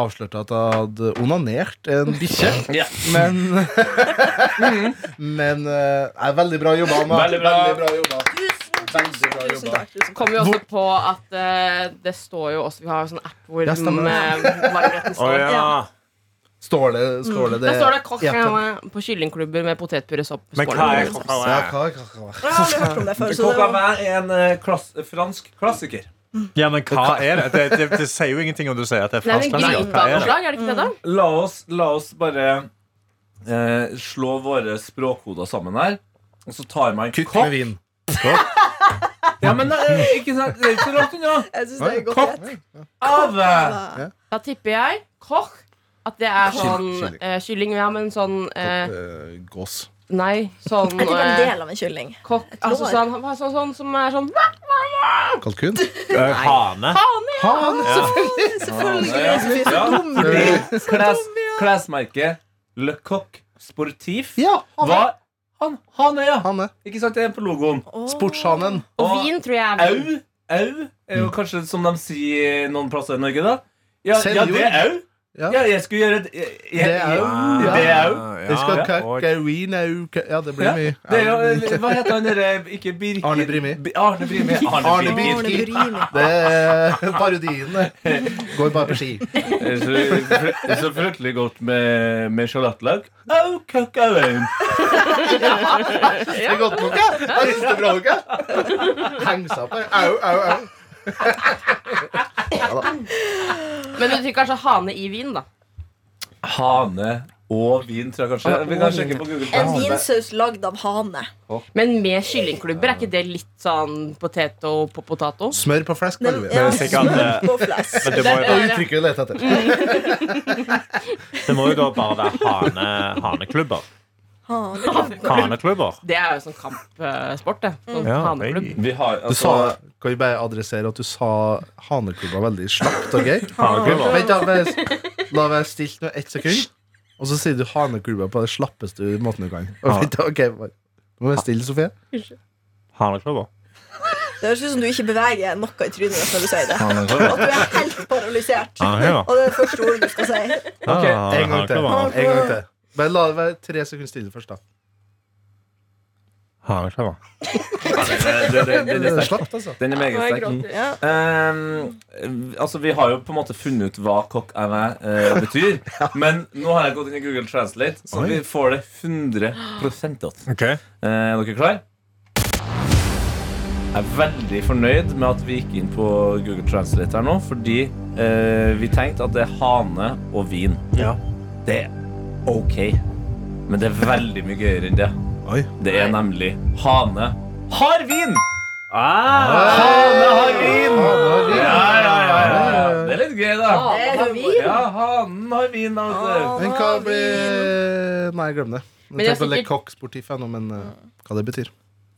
[SPEAKER 6] avslørte at jeg hadde onanert en bikkje.
[SPEAKER 2] Ja.
[SPEAKER 6] Men Men eh, er Veldig bra jobba, Anna.
[SPEAKER 2] Veldig bra.
[SPEAKER 6] Veldig bra jobba. Veldig bra
[SPEAKER 4] Tusen
[SPEAKER 6] jobba.
[SPEAKER 4] takk. Tusen takk.
[SPEAKER 5] Kommer jo også på at eh, det står jo også Vi har jo sånn app hvor
[SPEAKER 6] Ja, stemmer
[SPEAKER 5] den, eh, varmretten
[SPEAKER 3] Å
[SPEAKER 5] står.
[SPEAKER 3] ja.
[SPEAKER 6] Står det, står det,
[SPEAKER 5] Mm.
[SPEAKER 6] det
[SPEAKER 5] Der står det kokk eh,
[SPEAKER 6] Ja,
[SPEAKER 5] på kyllingklubber med potetpurresopp.
[SPEAKER 3] Men hva er
[SPEAKER 6] Ja,
[SPEAKER 3] kokkavæ?
[SPEAKER 6] hva, hva, hva.
[SPEAKER 4] Jeg har aldri hørt om det før. Så det
[SPEAKER 2] Coq au
[SPEAKER 4] var...
[SPEAKER 2] vin er en eh, klass, fransk klassiker.
[SPEAKER 3] Ja, men hva er det? Det, det, det sier jo ingenting om du sier at det er
[SPEAKER 5] Nei,
[SPEAKER 3] fransk.
[SPEAKER 5] men
[SPEAKER 3] men Hva er det?
[SPEAKER 5] Grytbadeslag, er det ikke det, da?
[SPEAKER 2] La oss, la oss bare eh, slå våre språkhoder sammen her. Og så tar man
[SPEAKER 6] Kukk
[SPEAKER 2] kopp.
[SPEAKER 6] med vin.
[SPEAKER 2] Ja, men eh, ikke sant? Det er ikke så langt unna.
[SPEAKER 4] Jeg synes det er godt
[SPEAKER 2] Kopp.
[SPEAKER 4] rett.
[SPEAKER 2] Av! eh?
[SPEAKER 5] Da tipper jeg kokk. At det er sånn
[SPEAKER 6] kylling.
[SPEAKER 5] eh, kylling. Ja, men sånn eh,
[SPEAKER 6] Eh, Gås.
[SPEAKER 5] Nei, sånn
[SPEAKER 4] Jeg tipper en
[SPEAKER 5] eh,
[SPEAKER 4] del av en kylling.
[SPEAKER 5] kokk. Altså
[SPEAKER 4] lår.
[SPEAKER 5] sånn, hva- sånn, sånn som er sånn
[SPEAKER 6] Kalkun?
[SPEAKER 3] Eh, Hane.
[SPEAKER 6] Han!
[SPEAKER 4] Selvfølgelig.
[SPEAKER 2] Ja.
[SPEAKER 6] blir.
[SPEAKER 2] Kles, klesmerket Le Coq Sportif
[SPEAKER 6] Ja, han er.
[SPEAKER 2] var han, han er, ja.
[SPEAKER 6] Han er.
[SPEAKER 2] Ikke sant, det er på logoen.
[SPEAKER 6] Sportshanen.
[SPEAKER 5] Og vin, tror jeg. er
[SPEAKER 2] Au,
[SPEAKER 5] vin.
[SPEAKER 2] au er jo kanskje som de sier noen plasser i Norge, da. Ja, ja
[SPEAKER 6] Senor.
[SPEAKER 2] det er au.
[SPEAKER 6] Ja.
[SPEAKER 2] Ja, jeg skulle gjøre et jeg, jeg,
[SPEAKER 6] Det er au.
[SPEAKER 2] Ja. Det er au.
[SPEAKER 6] Det skal
[SPEAKER 3] Ja, og-
[SPEAKER 6] kakarina Ja, det blir
[SPEAKER 2] Ja,
[SPEAKER 6] mye.
[SPEAKER 2] Det er jo, eh, hva heter han derre Ikke Birgit
[SPEAKER 6] Arne Brimi.
[SPEAKER 2] Bi- Arne Brimi.
[SPEAKER 6] Arne
[SPEAKER 2] Arne Birgit.
[SPEAKER 6] Birkin. Det er parodien der. Går bare på ski.
[SPEAKER 2] Det er så fr- så fryktelig godt med, med sjalattløk. Au, kakaoen.
[SPEAKER 6] Det er godt nok, ja. Jeg synes det er bra nok, ja. Heng seg opp her. Au, au, au.
[SPEAKER 5] Men du tenker kanskje hane i vin, da.
[SPEAKER 2] Hane og vin, tror jeg kanskje. Vi kan sjekke på Google.
[SPEAKER 4] En
[SPEAKER 2] Translate.
[SPEAKER 4] vinsaus lagd av hane.
[SPEAKER 5] Men med kyllingklubber, er ikke det litt sånn poteto på potato?
[SPEAKER 6] Smør på flesk,
[SPEAKER 4] Den,
[SPEAKER 6] Malve.
[SPEAKER 4] ja,
[SPEAKER 3] Men sikkert, eh,
[SPEAKER 4] på flass.
[SPEAKER 3] Men det må, jo
[SPEAKER 6] Det
[SPEAKER 3] da,
[SPEAKER 6] er uttrykket vi leter etter.
[SPEAKER 3] det må jo da bare være hane, haneklubber.
[SPEAKER 4] Hane.
[SPEAKER 3] Haneklubber.
[SPEAKER 5] Det er jo sånn kampsport, det. Sånn
[SPEAKER 3] Ja,
[SPEAKER 5] haneklubb.
[SPEAKER 3] hei.
[SPEAKER 2] Vi har
[SPEAKER 6] Du
[SPEAKER 2] altså
[SPEAKER 6] sa, kan vi bare adressere at du sa haneklubba veldig slapt og gøy?
[SPEAKER 3] Haneklubber.
[SPEAKER 6] Vent, da. bare- La meg stille nå ett sekund, og så sier du haneklubba på den slappeste måten du kan. Og Vent, da, ok, bare. Nå må jeg stille, Sofie.
[SPEAKER 3] Haneklubber.
[SPEAKER 4] Det høres ut som du ikke beveger noe i trynet ditt når du sier det.
[SPEAKER 3] Haneklubber.
[SPEAKER 4] At du er helt paralysert.
[SPEAKER 3] Haneklubber.
[SPEAKER 4] Og det er det første ordet du skal si.
[SPEAKER 3] Ah,
[SPEAKER 6] En gang til.
[SPEAKER 3] haneklubber.
[SPEAKER 6] En gang til. Bare la det være tre sekunder stille først, da.
[SPEAKER 3] Haneklubber.
[SPEAKER 6] Det er slapt, altså.
[SPEAKER 2] Den er meget sterk.
[SPEAKER 4] Ja.
[SPEAKER 2] Ehm, altså Vi har jo på en måte funnet ut hva coq à vin eh, betyr. Men nå har jeg gått inn i Google Translate, så
[SPEAKER 3] Oi.
[SPEAKER 2] vi får det 100 opp.
[SPEAKER 3] Ok.
[SPEAKER 2] Eh, Er dere klare? Jeg er veldig fornøyd med at vi gikk inn på Google Translate her nå, fordi eh, vi tenkte at det er hane og vin.
[SPEAKER 3] Ja.
[SPEAKER 2] Det er OK, men det er veldig mye gøyere enn det.
[SPEAKER 3] Oi.
[SPEAKER 2] Det er nemlig hane har vin!
[SPEAKER 6] Eh,
[SPEAKER 3] Ah!
[SPEAKER 2] Hane har vin! Ja, ja, ja, ja, ja. Det er litt gøy, da.
[SPEAKER 4] Det er vi.
[SPEAKER 2] Ja, hanen har vin, da. vet du.
[SPEAKER 6] Men hva blir Nei, glem det.
[SPEAKER 5] Men
[SPEAKER 6] Jeg
[SPEAKER 5] jeg
[SPEAKER 6] tenkte å
[SPEAKER 5] fikk
[SPEAKER 6] legge kokk sportif jeg nå, men eh, hva det betyr.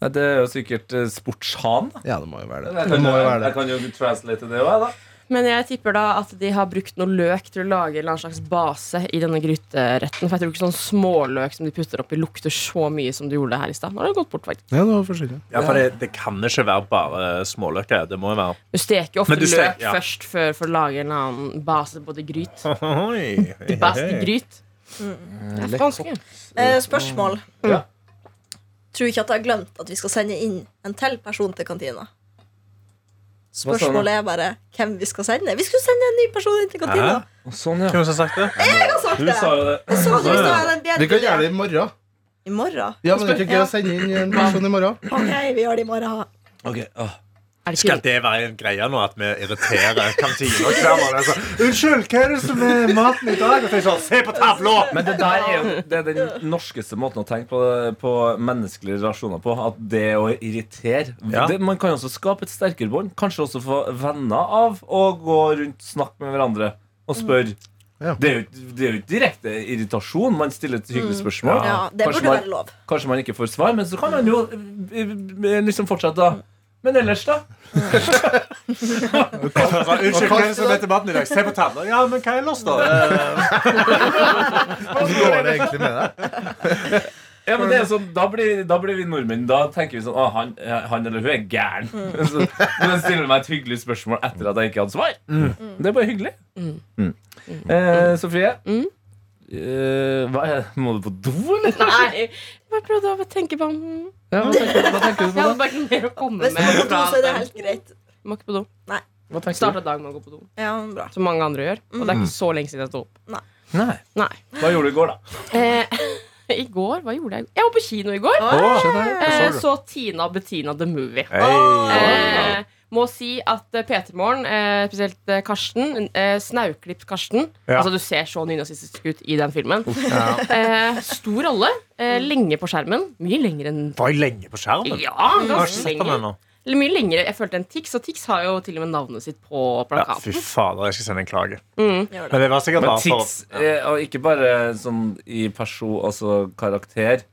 [SPEAKER 2] Nei, Det er jo sikkert eh, sportshan. da.
[SPEAKER 6] Ja, det må jo være det.
[SPEAKER 2] Jeg
[SPEAKER 6] Det
[SPEAKER 2] kan
[SPEAKER 6] må
[SPEAKER 2] jo,
[SPEAKER 6] jo være
[SPEAKER 2] jeg
[SPEAKER 6] det.
[SPEAKER 2] kan jo translate det òg, da.
[SPEAKER 5] Men jeg tipper da at de har brukt noe løk til å lage en eller annen slags base i denne gryteretten. For jeg tror ikke sånn småløk som de putter oppi, lukter så mye som det gjorde her i stad. Nå har det gått bort, faktisk.
[SPEAKER 6] Ja, det var forskjellig.
[SPEAKER 3] Ja, for det, det kan ikke være bare småløker. Det må jo være
[SPEAKER 5] Du steker jo ofte
[SPEAKER 3] Men du steker-
[SPEAKER 5] løk
[SPEAKER 3] ja.
[SPEAKER 5] først før for å lage en eller annen base både gryt.
[SPEAKER 3] Oi,
[SPEAKER 5] Til base til gryt.
[SPEAKER 4] Mm.
[SPEAKER 5] Det er vanskelig.
[SPEAKER 4] Eh, spørsmål.
[SPEAKER 2] Ja.
[SPEAKER 4] Tror ikke at jeg har glemt at vi skal sende inn en til person til kantina.
[SPEAKER 2] du?
[SPEAKER 4] Spørsmålet er bare hvem vi skal sende. Vi skulle sende en ny person inn til kantina.
[SPEAKER 3] Hæ?
[SPEAKER 2] Sånn, ja.
[SPEAKER 3] Hvem som har sagt det?
[SPEAKER 4] Jeg har sagt
[SPEAKER 2] Du
[SPEAKER 4] det!
[SPEAKER 2] sa jo det.
[SPEAKER 4] Jeg sa det hvis det var en bedre
[SPEAKER 6] Vi kan gjøre
[SPEAKER 4] idé.
[SPEAKER 6] det i morgen.
[SPEAKER 4] I morgen?
[SPEAKER 6] Ja, men det er ikke gøy å sende inn en person i morgen.
[SPEAKER 4] Ok, vi gjør det i morgen.
[SPEAKER 5] Er det
[SPEAKER 3] Skal
[SPEAKER 5] ikke
[SPEAKER 3] det være en greie nå at vi irriterer kantina? og hver morgen er sånn, Unnskyld, hva er det som er maten i dag? Og så er jeg sånn, Se på tavla!
[SPEAKER 2] Men det der er jo det er den norskeste måten å tenke på, på menneskelige relasjoner på. At det å irritere
[SPEAKER 3] Ja.
[SPEAKER 2] det, Man kan jo også skape et sterkere bånd. Kanskje også få venner av å gå rundt, snakke med hverandre og spørre.
[SPEAKER 4] Mm.
[SPEAKER 6] Ja.
[SPEAKER 2] Det, er jo, ikke- det er jo ikke direkte irritasjon. Man stiller et hyggelig spørsmål.
[SPEAKER 4] Mm. Ja, det
[SPEAKER 2] Kanskje
[SPEAKER 4] burde
[SPEAKER 2] man-
[SPEAKER 4] være lov.
[SPEAKER 2] Kanskje man ikke får svar, men så kan man jo eh, eh, liksom fortsette,
[SPEAKER 4] Mm.
[SPEAKER 2] da. Men ellers, da?
[SPEAKER 3] Unnskyld, hva er det som er til maten i dag? Se på tavla. Ja, men hva ellers, da?
[SPEAKER 6] Hvordan Altså, går det egentlig med deg?
[SPEAKER 2] Ja, men det er sånn, da blir, da blir vi nordmenn. Da tenker vi sånn ah, han, eh, han eller hun er gæren.
[SPEAKER 5] Mm.
[SPEAKER 2] Så, men stiller meg et hyggelig spørsmål etter at jeg ikke hadde svar. Mm. Det er bare hyggelig. Mm. Eh, Sofie,
[SPEAKER 5] Mm.
[SPEAKER 2] eh, hva er, må du på do, eller?
[SPEAKER 5] Nei, bare prøvde å tenke på mm.
[SPEAKER 2] Ja, hva, tenker, hva tenker du
[SPEAKER 5] Jeg
[SPEAKER 2] på
[SPEAKER 5] hadde
[SPEAKER 2] da?
[SPEAKER 5] bare mer å komme
[SPEAKER 4] Hvis du må
[SPEAKER 5] med.
[SPEAKER 4] på do, så er det helt greit.
[SPEAKER 5] Må ikke på do.
[SPEAKER 2] Hva tenker du?
[SPEAKER 5] Starta dagen med å gå på do,
[SPEAKER 4] Ja, bra.
[SPEAKER 5] som mange andre gjør. Og det
[SPEAKER 3] Mm.
[SPEAKER 5] er ikke så lenge siden jeg sto opp.
[SPEAKER 2] Nei.
[SPEAKER 5] Nei.
[SPEAKER 2] Hva gjorde du i går, da?
[SPEAKER 5] Eh, I går, hva gjorde jeg? Jeg var på kino i går. Eh, så Tina og Bettina The Movie. Eh, må si at eh, P3 Morgen, eh, spesielt eh, Karsten, eh, snauklipt Karsten
[SPEAKER 3] Ja.
[SPEAKER 5] Altså Du ser så nynazistisk ut i den filmen. Eh, stor rolle. Eh, lenge på skjermen. Mye lenger enn
[SPEAKER 3] Var jeg lenge på skjermen?
[SPEAKER 5] Ja,
[SPEAKER 3] Jeg har ikke
[SPEAKER 5] ganske
[SPEAKER 3] sett den
[SPEAKER 5] lenger.
[SPEAKER 3] ennå.
[SPEAKER 5] Eller mye lengre. Jeg følte en Tix, og Tix har jo til og med navnet sitt på
[SPEAKER 3] Ja,
[SPEAKER 5] plakaten.
[SPEAKER 3] fy fader, jeg skal sende en klage.
[SPEAKER 4] Gjør det.
[SPEAKER 3] Men det var sikkert
[SPEAKER 2] Men
[SPEAKER 3] bare for
[SPEAKER 2] tics, eh, og ikke bare sånn i person, altså karakter.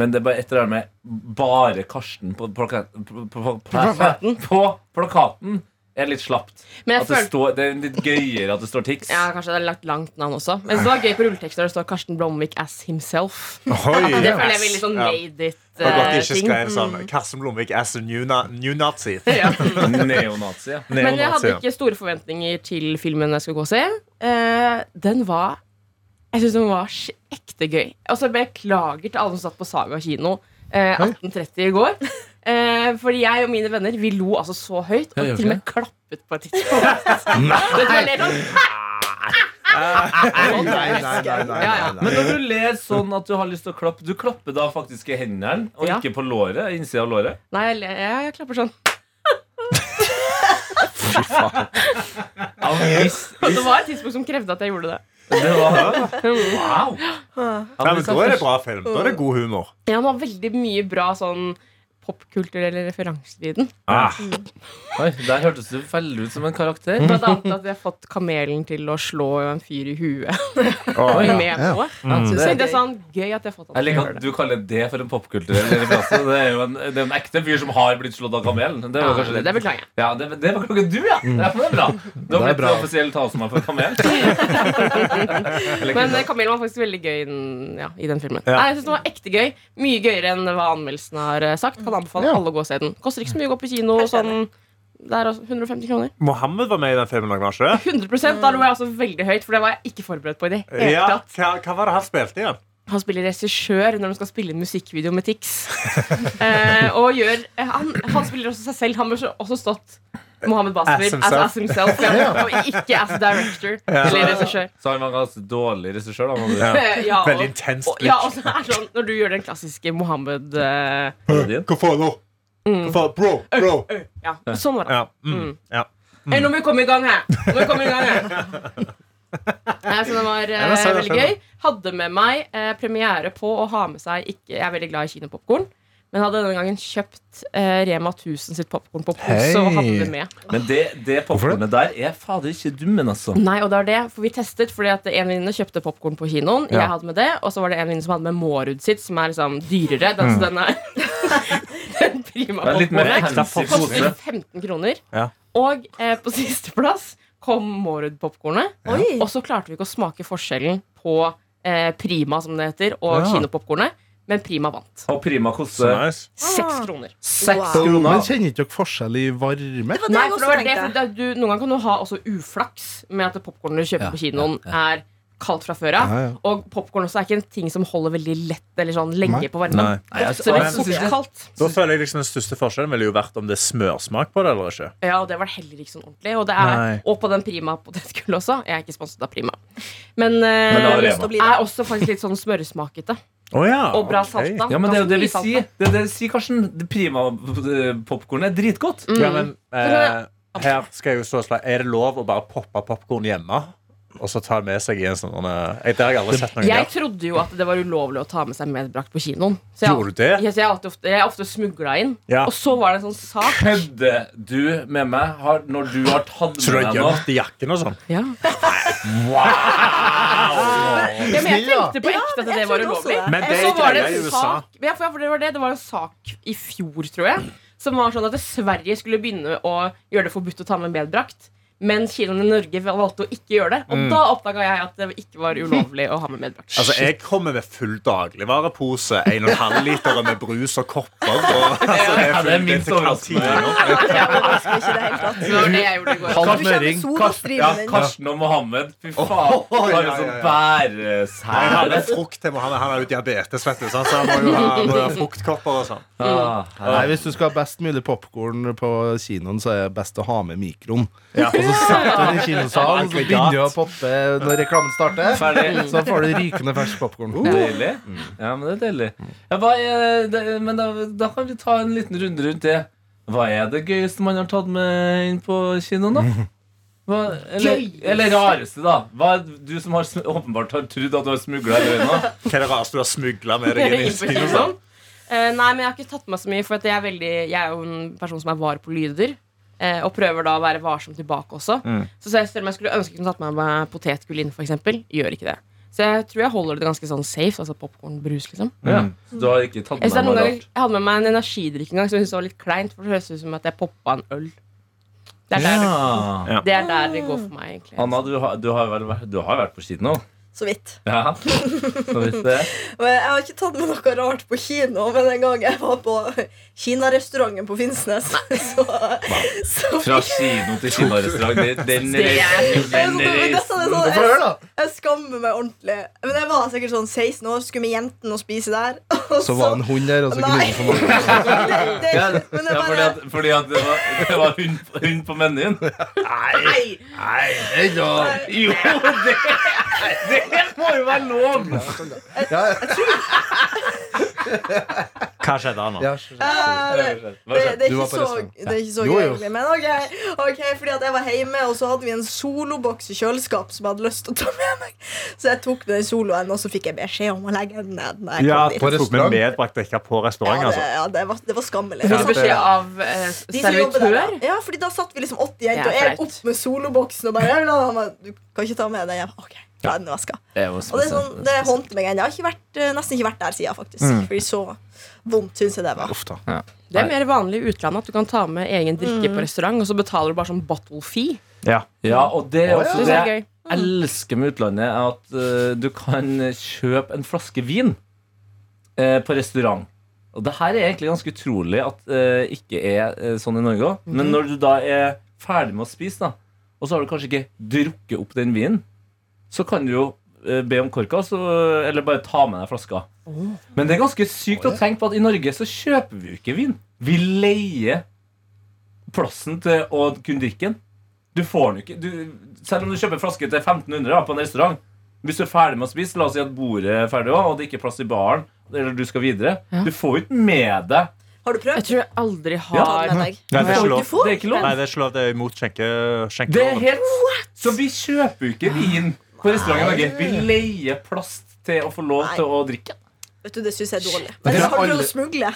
[SPEAKER 2] Men det er bare et eller annet med bare Karsten på, plaka på, på, på, plakaten. på plakaten er litt slapt.
[SPEAKER 5] Men jeg
[SPEAKER 2] At det,
[SPEAKER 5] følte
[SPEAKER 2] står, det er litt gøyere at det står Tix.
[SPEAKER 5] ja, Kanskje det er lagt langt navn også. Men det var gøy på rulletekster. Det står Karsten Blomvik as himself.
[SPEAKER 3] Oi,
[SPEAKER 5] Det føler jeg
[SPEAKER 3] ass.
[SPEAKER 5] blir litt sånn
[SPEAKER 3] Ja.
[SPEAKER 5] made eh,
[SPEAKER 3] Det var godt de ikke
[SPEAKER 5] it-ting.
[SPEAKER 3] skrev sånn Karsten Blomvik as a new, na new nazi.
[SPEAKER 2] Neonazi. ja.
[SPEAKER 5] Men jeg hadde
[SPEAKER 3] Neonazi, ja.
[SPEAKER 5] ikke store forventninger til filmen jeg skulle gå og se. Eh, den var Jeg syns den var sk- ekte gøy. Og så beklager til alle som satt på Saga kino eh, 18.30 i går. Eh, fordi jeg og mine venner vi lo altså så høyt, og
[SPEAKER 2] gjør
[SPEAKER 5] til og med klappet på et tidspunkt. Vet du hva jeg ler sånn?
[SPEAKER 6] Nei, nei, nei, nei, nei, nei.
[SPEAKER 2] Men når du ler sånn at du har lyst til å klappe Du klapper da faktisk i hendene, og
[SPEAKER 5] Ja.
[SPEAKER 2] ikke på låret. Innsida av låret.
[SPEAKER 5] Nei, jeg, ler- jeg, jeg klapper sånn.
[SPEAKER 2] Ja, men hvis,
[SPEAKER 5] Og det var et tidspunkt som krevde at jeg gjorde det.
[SPEAKER 2] det var Wow!
[SPEAKER 3] Nei, men Da er det bra film. Da er det god humor.
[SPEAKER 5] Ja, den var veldig mye bra sånn popkulturelle referanser i den.
[SPEAKER 3] Ah,
[SPEAKER 2] Oi, der hørtes du veldig ut som en karakter.
[SPEAKER 5] Blant annet at vi har fått kamelen til å slå en fyr i huet.
[SPEAKER 2] Oi.
[SPEAKER 5] med på. Så
[SPEAKER 2] Mm. Det er
[SPEAKER 5] det er sånn gøy at jeg har fått
[SPEAKER 2] Jeg
[SPEAKER 5] han til å
[SPEAKER 2] liker
[SPEAKER 5] gjøre
[SPEAKER 2] at
[SPEAKER 5] det.
[SPEAKER 2] du kaller det for en popkulturell referanse. Det er jo en, det er en ekte fyr som har blitt slått av kamelen. Det var
[SPEAKER 5] Ja,
[SPEAKER 2] kanskje
[SPEAKER 5] det- det beklager jeg.
[SPEAKER 2] Ja, det, det var klokken du, ja! Det er bra. Du har
[SPEAKER 6] Det er
[SPEAKER 2] blitt
[SPEAKER 6] bra.
[SPEAKER 2] offisiell talsmann for kamel. Eller
[SPEAKER 5] Men
[SPEAKER 2] kvinne.
[SPEAKER 5] eh, Kamelen var faktisk veldig gøy i den, ja, i den filmen.
[SPEAKER 3] Ja.
[SPEAKER 5] Nei, jeg synes den var ekte gøy Mye gøyere enn hva anmeldelsen har eh, sagt. Kan anbefale
[SPEAKER 6] Ja.
[SPEAKER 5] alle å gå og se den. Koster ikke så mye å gå på kino. Sånn, det er også 150 kroner.
[SPEAKER 3] Mohammed var med i den filmen òg, var han ikke det?
[SPEAKER 5] 100 Da lo jeg altså veldig høyt, for det var jeg ikke forberedt på i det hele
[SPEAKER 3] Ja,
[SPEAKER 5] tatt.
[SPEAKER 3] hva, hva var det han spilte igjen?
[SPEAKER 5] Han spiller regissør når han skal spille en musikkvideo med Tix. Eh, og gjør eh, han, han spiller også seg selv. Han burde også stått Mohammed Basmer as,
[SPEAKER 3] himself.
[SPEAKER 5] as himself. Ja. Og ikke as director eller regissør.
[SPEAKER 2] Så han var ganske dårlig regissør, da. må du-
[SPEAKER 3] Ja.
[SPEAKER 5] Eh, ja, og-
[SPEAKER 3] Veldig intenst
[SPEAKER 5] og- Ja, og så er det sånn, når du gjør den klassiske Mohammed eh,
[SPEAKER 2] Parodien.
[SPEAKER 3] Hva faen nå? For bro, bro.
[SPEAKER 5] Ja, sånn var det.
[SPEAKER 3] Ja, mm, ja.
[SPEAKER 5] Hey, nå må vi komme i gang her! Nå må vi komme i gang her. Nei, så det var eh,
[SPEAKER 3] men jeg ser det
[SPEAKER 5] veldig
[SPEAKER 3] selv,
[SPEAKER 5] gøy. Hadde med meg eh, premiere på å ha med seg ikke, Jeg er veldig glad i kinopopkorn, men hadde denne gangen kjøpt eh, Rema 1000 sitt popkorn på pose
[SPEAKER 7] Hei.
[SPEAKER 5] og hadde det med.
[SPEAKER 2] Men det, det popkornet der er fader ikke dummen, altså.
[SPEAKER 5] Nei, og det var det, for vi testet fordi at en venninne kjøpte popkorn på kinoen.
[SPEAKER 7] Ja.
[SPEAKER 5] Jeg hadde med det, og så var det en venninne som hadde med Mårud sitt, som er liksom dyrere. Den, så den er den prima
[SPEAKER 2] Det er litt mer
[SPEAKER 5] popcornet.
[SPEAKER 2] fancy pose.
[SPEAKER 5] Koster 15 kroner.
[SPEAKER 3] Ja.
[SPEAKER 5] Og eh, på sisteplass kom Mårud-popkornet.
[SPEAKER 4] Oi.
[SPEAKER 5] Og så klarte vi ikke å smake forskjellen på eh, Prima, som det heter, og
[SPEAKER 3] Ja.
[SPEAKER 5] kinopopkornet. Men Prima vant.
[SPEAKER 2] Og Prima
[SPEAKER 3] Så
[SPEAKER 2] koster
[SPEAKER 3] nice.
[SPEAKER 5] Seks kroner.
[SPEAKER 2] seks
[SPEAKER 4] Wow.
[SPEAKER 6] Men
[SPEAKER 2] kroner.
[SPEAKER 6] kjenner ikke dere forskjell i varme?
[SPEAKER 4] Det var det
[SPEAKER 5] Nei,
[SPEAKER 4] jeg
[SPEAKER 5] for det
[SPEAKER 4] også
[SPEAKER 5] var det, for
[SPEAKER 4] tenkte.
[SPEAKER 5] det, er- du, Noen ganger kan du ha også uflaks med at det popkornet du kjøper
[SPEAKER 7] Ja,
[SPEAKER 5] på kinoen, er kaldt fra før av.
[SPEAKER 6] Ja, ja.
[SPEAKER 5] Og popkorn også er ikke en ting som holder veldig lett eller sånn lenge
[SPEAKER 6] Nei.
[SPEAKER 5] på varmen.
[SPEAKER 3] Nei.
[SPEAKER 2] Nei, altså,
[SPEAKER 5] Så det
[SPEAKER 2] jeg
[SPEAKER 5] er
[SPEAKER 2] synes
[SPEAKER 5] fort
[SPEAKER 2] ikke-
[SPEAKER 5] kaldt.
[SPEAKER 3] Da føler jeg liksom Den største forskjellen ville jo vært om det er smørsmak på det eller ikke.
[SPEAKER 5] Ja, og det var heller ikke sånn ordentlig. Og, det er,
[SPEAKER 3] Nei.
[SPEAKER 5] og på den Prima potetgullet også. Jeg er ikke sponset av Prima. Men,
[SPEAKER 2] Men det
[SPEAKER 5] eh,
[SPEAKER 2] var
[SPEAKER 4] Jeg har lyst til å bli det.
[SPEAKER 5] er også faktisk litt sånn smørsmakete.
[SPEAKER 3] Oh, ja.
[SPEAKER 5] Og bra
[SPEAKER 3] ok.
[SPEAKER 5] salta.
[SPEAKER 2] Ja, men det er jo det vi
[SPEAKER 5] Ganske mye
[SPEAKER 2] sier. Det er det vi sier, Karsten. Det Prima-popkornet er dritgodt.
[SPEAKER 5] salta. Mm.
[SPEAKER 3] Ja, men eh, her skal jeg jo stå og slå Er det lov å bare poppe popkorn hjemme? Og så ta det med seg i en sånn eh, jeg- Det har jeg aldri sett noen
[SPEAKER 5] Jeg
[SPEAKER 3] gjøre.
[SPEAKER 5] trodde jo at det var ulovlig å ta med seg medbrakt på kinoen. Så jeg,
[SPEAKER 3] Gjorde du det?
[SPEAKER 5] Ja, så jeg, er alltid ofte, jeg er ofte smugla inn.
[SPEAKER 3] Ja.
[SPEAKER 5] Og så var det en sånn sak.
[SPEAKER 2] Kødder du med meg har, når du har tatt
[SPEAKER 3] Så du
[SPEAKER 2] med
[SPEAKER 3] har
[SPEAKER 2] deg noe?
[SPEAKER 3] gjemt i jakken og sånn?
[SPEAKER 5] Ja. Ja, men jeg
[SPEAKER 6] Snill, da.
[SPEAKER 5] tenkte på ekte at det
[SPEAKER 4] jeg
[SPEAKER 5] var
[SPEAKER 4] trodde også
[SPEAKER 5] ulovlig.
[SPEAKER 4] det.
[SPEAKER 3] Men
[SPEAKER 5] Og
[SPEAKER 3] det
[SPEAKER 5] så
[SPEAKER 3] er
[SPEAKER 5] var det
[SPEAKER 3] greia i
[SPEAKER 5] en
[SPEAKER 3] USA.
[SPEAKER 5] sak ja, for, for det, var det, det var en sak i fjor, tror jeg, som var sånn at Sverige skulle begynne å gjøre det forbudt å ta med medbrakt. Men kinoen i Norge valgte å ikke gjøre det. Og da oppdaga jeg at det ikke var ulovlig å ha med medbrakt.
[SPEAKER 3] Mm. Altså, Jeg kommer med full dagligvarepose, 1,5 liter med brus og kopper. Og, altså, det
[SPEAKER 2] Ja, det er
[SPEAKER 3] fullt
[SPEAKER 2] minst
[SPEAKER 3] til
[SPEAKER 2] overraskende.
[SPEAKER 3] kantina.
[SPEAKER 4] Ja, men jeg husker ikke det helt tatt.
[SPEAKER 5] det var det jeg gjorde i går.
[SPEAKER 4] Du kjenner solostriden
[SPEAKER 2] Ja,
[SPEAKER 4] din.
[SPEAKER 2] Karsten og Mohammed. Fy faen. Bare
[SPEAKER 3] ja,
[SPEAKER 2] sånn
[SPEAKER 3] ja, ja. Jeg hadde
[SPEAKER 2] bæresære.
[SPEAKER 3] frukt til Mohammed. Han har jo diabetes, vet du, sant? så han må jo ha, må jo ha fruktkopper og sånn.
[SPEAKER 2] Ah,
[SPEAKER 6] Nei,
[SPEAKER 2] her-
[SPEAKER 6] Hvis du skal ha best mulig popkorn på kinoen, så er det best å ha med mikroen.
[SPEAKER 3] Ja.
[SPEAKER 6] Og så setter du den i kinosalen, og så begynner du å poppe når reklamen starter.
[SPEAKER 2] Ferdig.
[SPEAKER 6] Så får du rykende fersk popkorn.
[SPEAKER 2] Deilig.
[SPEAKER 5] Mm.
[SPEAKER 2] Ja, men det er deilig. Ja, hva er det, men da, da kan vi ta en liten runde rundt det. Hva er det gøyeste man har tatt med inn på kinoen, da? Hva, eller,
[SPEAKER 5] Gøyeste?
[SPEAKER 2] eller rareste, da. Hva er det- du som har, sm- åpenbart har trodd at du har smugla i øynene.
[SPEAKER 3] Hva er det rareste du har smugla med deg inn i
[SPEAKER 5] Innenfor
[SPEAKER 3] kinoen?
[SPEAKER 5] kinoen. Eh, nei, men jeg har ikke tatt med meg så mye, for at jeg, er veldig, jeg er jo en person som er var på lyder. eh, og prøver da å være varsom tilbake også.
[SPEAKER 2] Mm.
[SPEAKER 5] Så selv selv om jeg skulle ønske jeg kunne tatt med meg potetgull inn, for eksempel, gjør ikke det. Så jeg tror jeg holder det ganske sånn safe. Altså popcorn, brus, liksom.
[SPEAKER 2] Ja. Mm. så Du har ikke tatt med
[SPEAKER 5] Jeg,
[SPEAKER 2] deg
[SPEAKER 5] synes det er
[SPEAKER 2] noe
[SPEAKER 5] noen ganger,
[SPEAKER 2] rart?
[SPEAKER 5] jeg hadde med meg en energidrikk en gang som jeg syntes var litt kleint, for det høres ut som at jeg poppa en øl. Det er der,
[SPEAKER 2] Ja.
[SPEAKER 5] det, det, er der det går for meg, egentlig.
[SPEAKER 2] Anna, du har, du har, vel, vært- du har vært på kino?
[SPEAKER 4] Så vidt.
[SPEAKER 2] Ja. Så visst det.
[SPEAKER 4] Og Jeg har ikke tatt med noe rart på kino, men en gang jeg var på Kinarestauranten på Finnsnes så, så
[SPEAKER 2] Fra kino til kinarestaurant. det- Den reisen.
[SPEAKER 4] Jeg,
[SPEAKER 2] Den
[SPEAKER 4] sånn, men
[SPEAKER 2] reisen.
[SPEAKER 4] dette er
[SPEAKER 6] Du
[SPEAKER 4] sånn,
[SPEAKER 6] får høre,
[SPEAKER 4] jeg,
[SPEAKER 6] da.
[SPEAKER 4] jeg skammer meg ordentlig. Men jeg var sikkert sånn 16 år, skulle med jentene og spise der. Og
[SPEAKER 6] Så var det en hund der, og så gnidde den for mange.
[SPEAKER 4] Nei. Det, det,
[SPEAKER 2] Ja, ja,
[SPEAKER 4] men
[SPEAKER 2] fordi
[SPEAKER 4] jeg bare
[SPEAKER 2] at, fordi at det var, det var hund, hund på menyen.
[SPEAKER 4] Nei!
[SPEAKER 2] Jo, det, det må jo være lov!
[SPEAKER 6] Ja, ja.
[SPEAKER 3] Hva skjedde nå?
[SPEAKER 6] Ja, så-
[SPEAKER 2] Hva
[SPEAKER 4] Eh, det, det,
[SPEAKER 2] skjedde?
[SPEAKER 4] det, er
[SPEAKER 6] Du var
[SPEAKER 4] ikke så,
[SPEAKER 6] på restaurant.
[SPEAKER 4] det er ikke så
[SPEAKER 6] Jo,
[SPEAKER 4] gøy,
[SPEAKER 6] jo.
[SPEAKER 4] egentlig. Men ok, ok, fordi at jeg var hjemme, og så hadde vi en soloboks i kjøleskap som jeg hadde lyst til å ta med meg. Så jeg tok med den soloen, og så fikk jeg beskjed om å legge den ned. Når jeg
[SPEAKER 3] Ja,
[SPEAKER 4] kom dit.
[SPEAKER 6] på
[SPEAKER 3] Tok med
[SPEAKER 6] restaurant.
[SPEAKER 3] medbrakt drikke på restaurant,
[SPEAKER 4] ja, det,
[SPEAKER 3] altså.
[SPEAKER 4] ja, det, var, det var skammelig.
[SPEAKER 5] Fikk
[SPEAKER 4] Så-
[SPEAKER 5] du beskjed av eh,
[SPEAKER 4] de som jobber der,
[SPEAKER 5] servitør?
[SPEAKER 4] ja. ja, fordi da satt vi liksom 80 jenter, og
[SPEAKER 5] Det er
[SPEAKER 4] jeg
[SPEAKER 5] flaut.
[SPEAKER 4] opp med soloboksen og bare "Ja, la, la, la, Du kan ikke ta med den hjem. Ok, ta den i veska. Og det, er sånn, det håndte meg ennå. Jeg har ikke vært, eh, nesten ikke vært der siden, faktisk. Fordi så vondt syns jeg det var.
[SPEAKER 3] Uff da.
[SPEAKER 5] Det er mer vanlig i utlandet at du kan ta med egen drikke på restaurant, og så betaler du bare sånn bottle fee.
[SPEAKER 3] Ja.
[SPEAKER 2] Ja, og det er også det
[SPEAKER 5] Det er
[SPEAKER 4] sånn
[SPEAKER 2] jeg
[SPEAKER 5] gøy.
[SPEAKER 2] elsker med utlandet, er at eh, du kan kjøpe en flaske vin eh, på restaurant. Og det her er egentlig ganske utrolig at det ikke er eh, sånn i Norge òg. Men når du da er ferdig med å spise, da, og så har du kanskje ikke drukket opp den vinen, så kan du jo eh, be om korka, så, eller bare ta med deg flaska. Men det er ganske sykt å tenke på at i Norge så kjøper vi jo ikke vin. Vi leier plassen til å kunne drikke den. Du får den jo ikke du, Selv om du kjøper en flaske til 1500 da, på en restaurant Hvis du er ferdig med å spise, la oss si at bordet er ferdig også, og det ikke er plass i baren, eller du skal videre Du får jo ikke med deg
[SPEAKER 4] Har du
[SPEAKER 5] Jeg
[SPEAKER 4] prøvd?
[SPEAKER 5] tror jeg aldri
[SPEAKER 2] Ja.
[SPEAKER 5] har
[SPEAKER 4] Ta den med deg.
[SPEAKER 3] Nei, det er ikke
[SPEAKER 4] Du
[SPEAKER 3] lov.
[SPEAKER 4] får
[SPEAKER 2] Det er ikke lov.
[SPEAKER 3] Nei, det er ikke lov. Det er imot skjenke,
[SPEAKER 2] Det er
[SPEAKER 3] skjenkeloven.
[SPEAKER 2] helt Så vi kjøper jo ikke vin på restaurant i Norge. Vi leier plast til å få lov
[SPEAKER 4] Nei.
[SPEAKER 2] til å drikke.
[SPEAKER 4] Vet du, det syns jeg er dårlig.
[SPEAKER 6] Det
[SPEAKER 4] Men
[SPEAKER 6] er
[SPEAKER 4] har du prøvd
[SPEAKER 6] alle-
[SPEAKER 4] å smugle?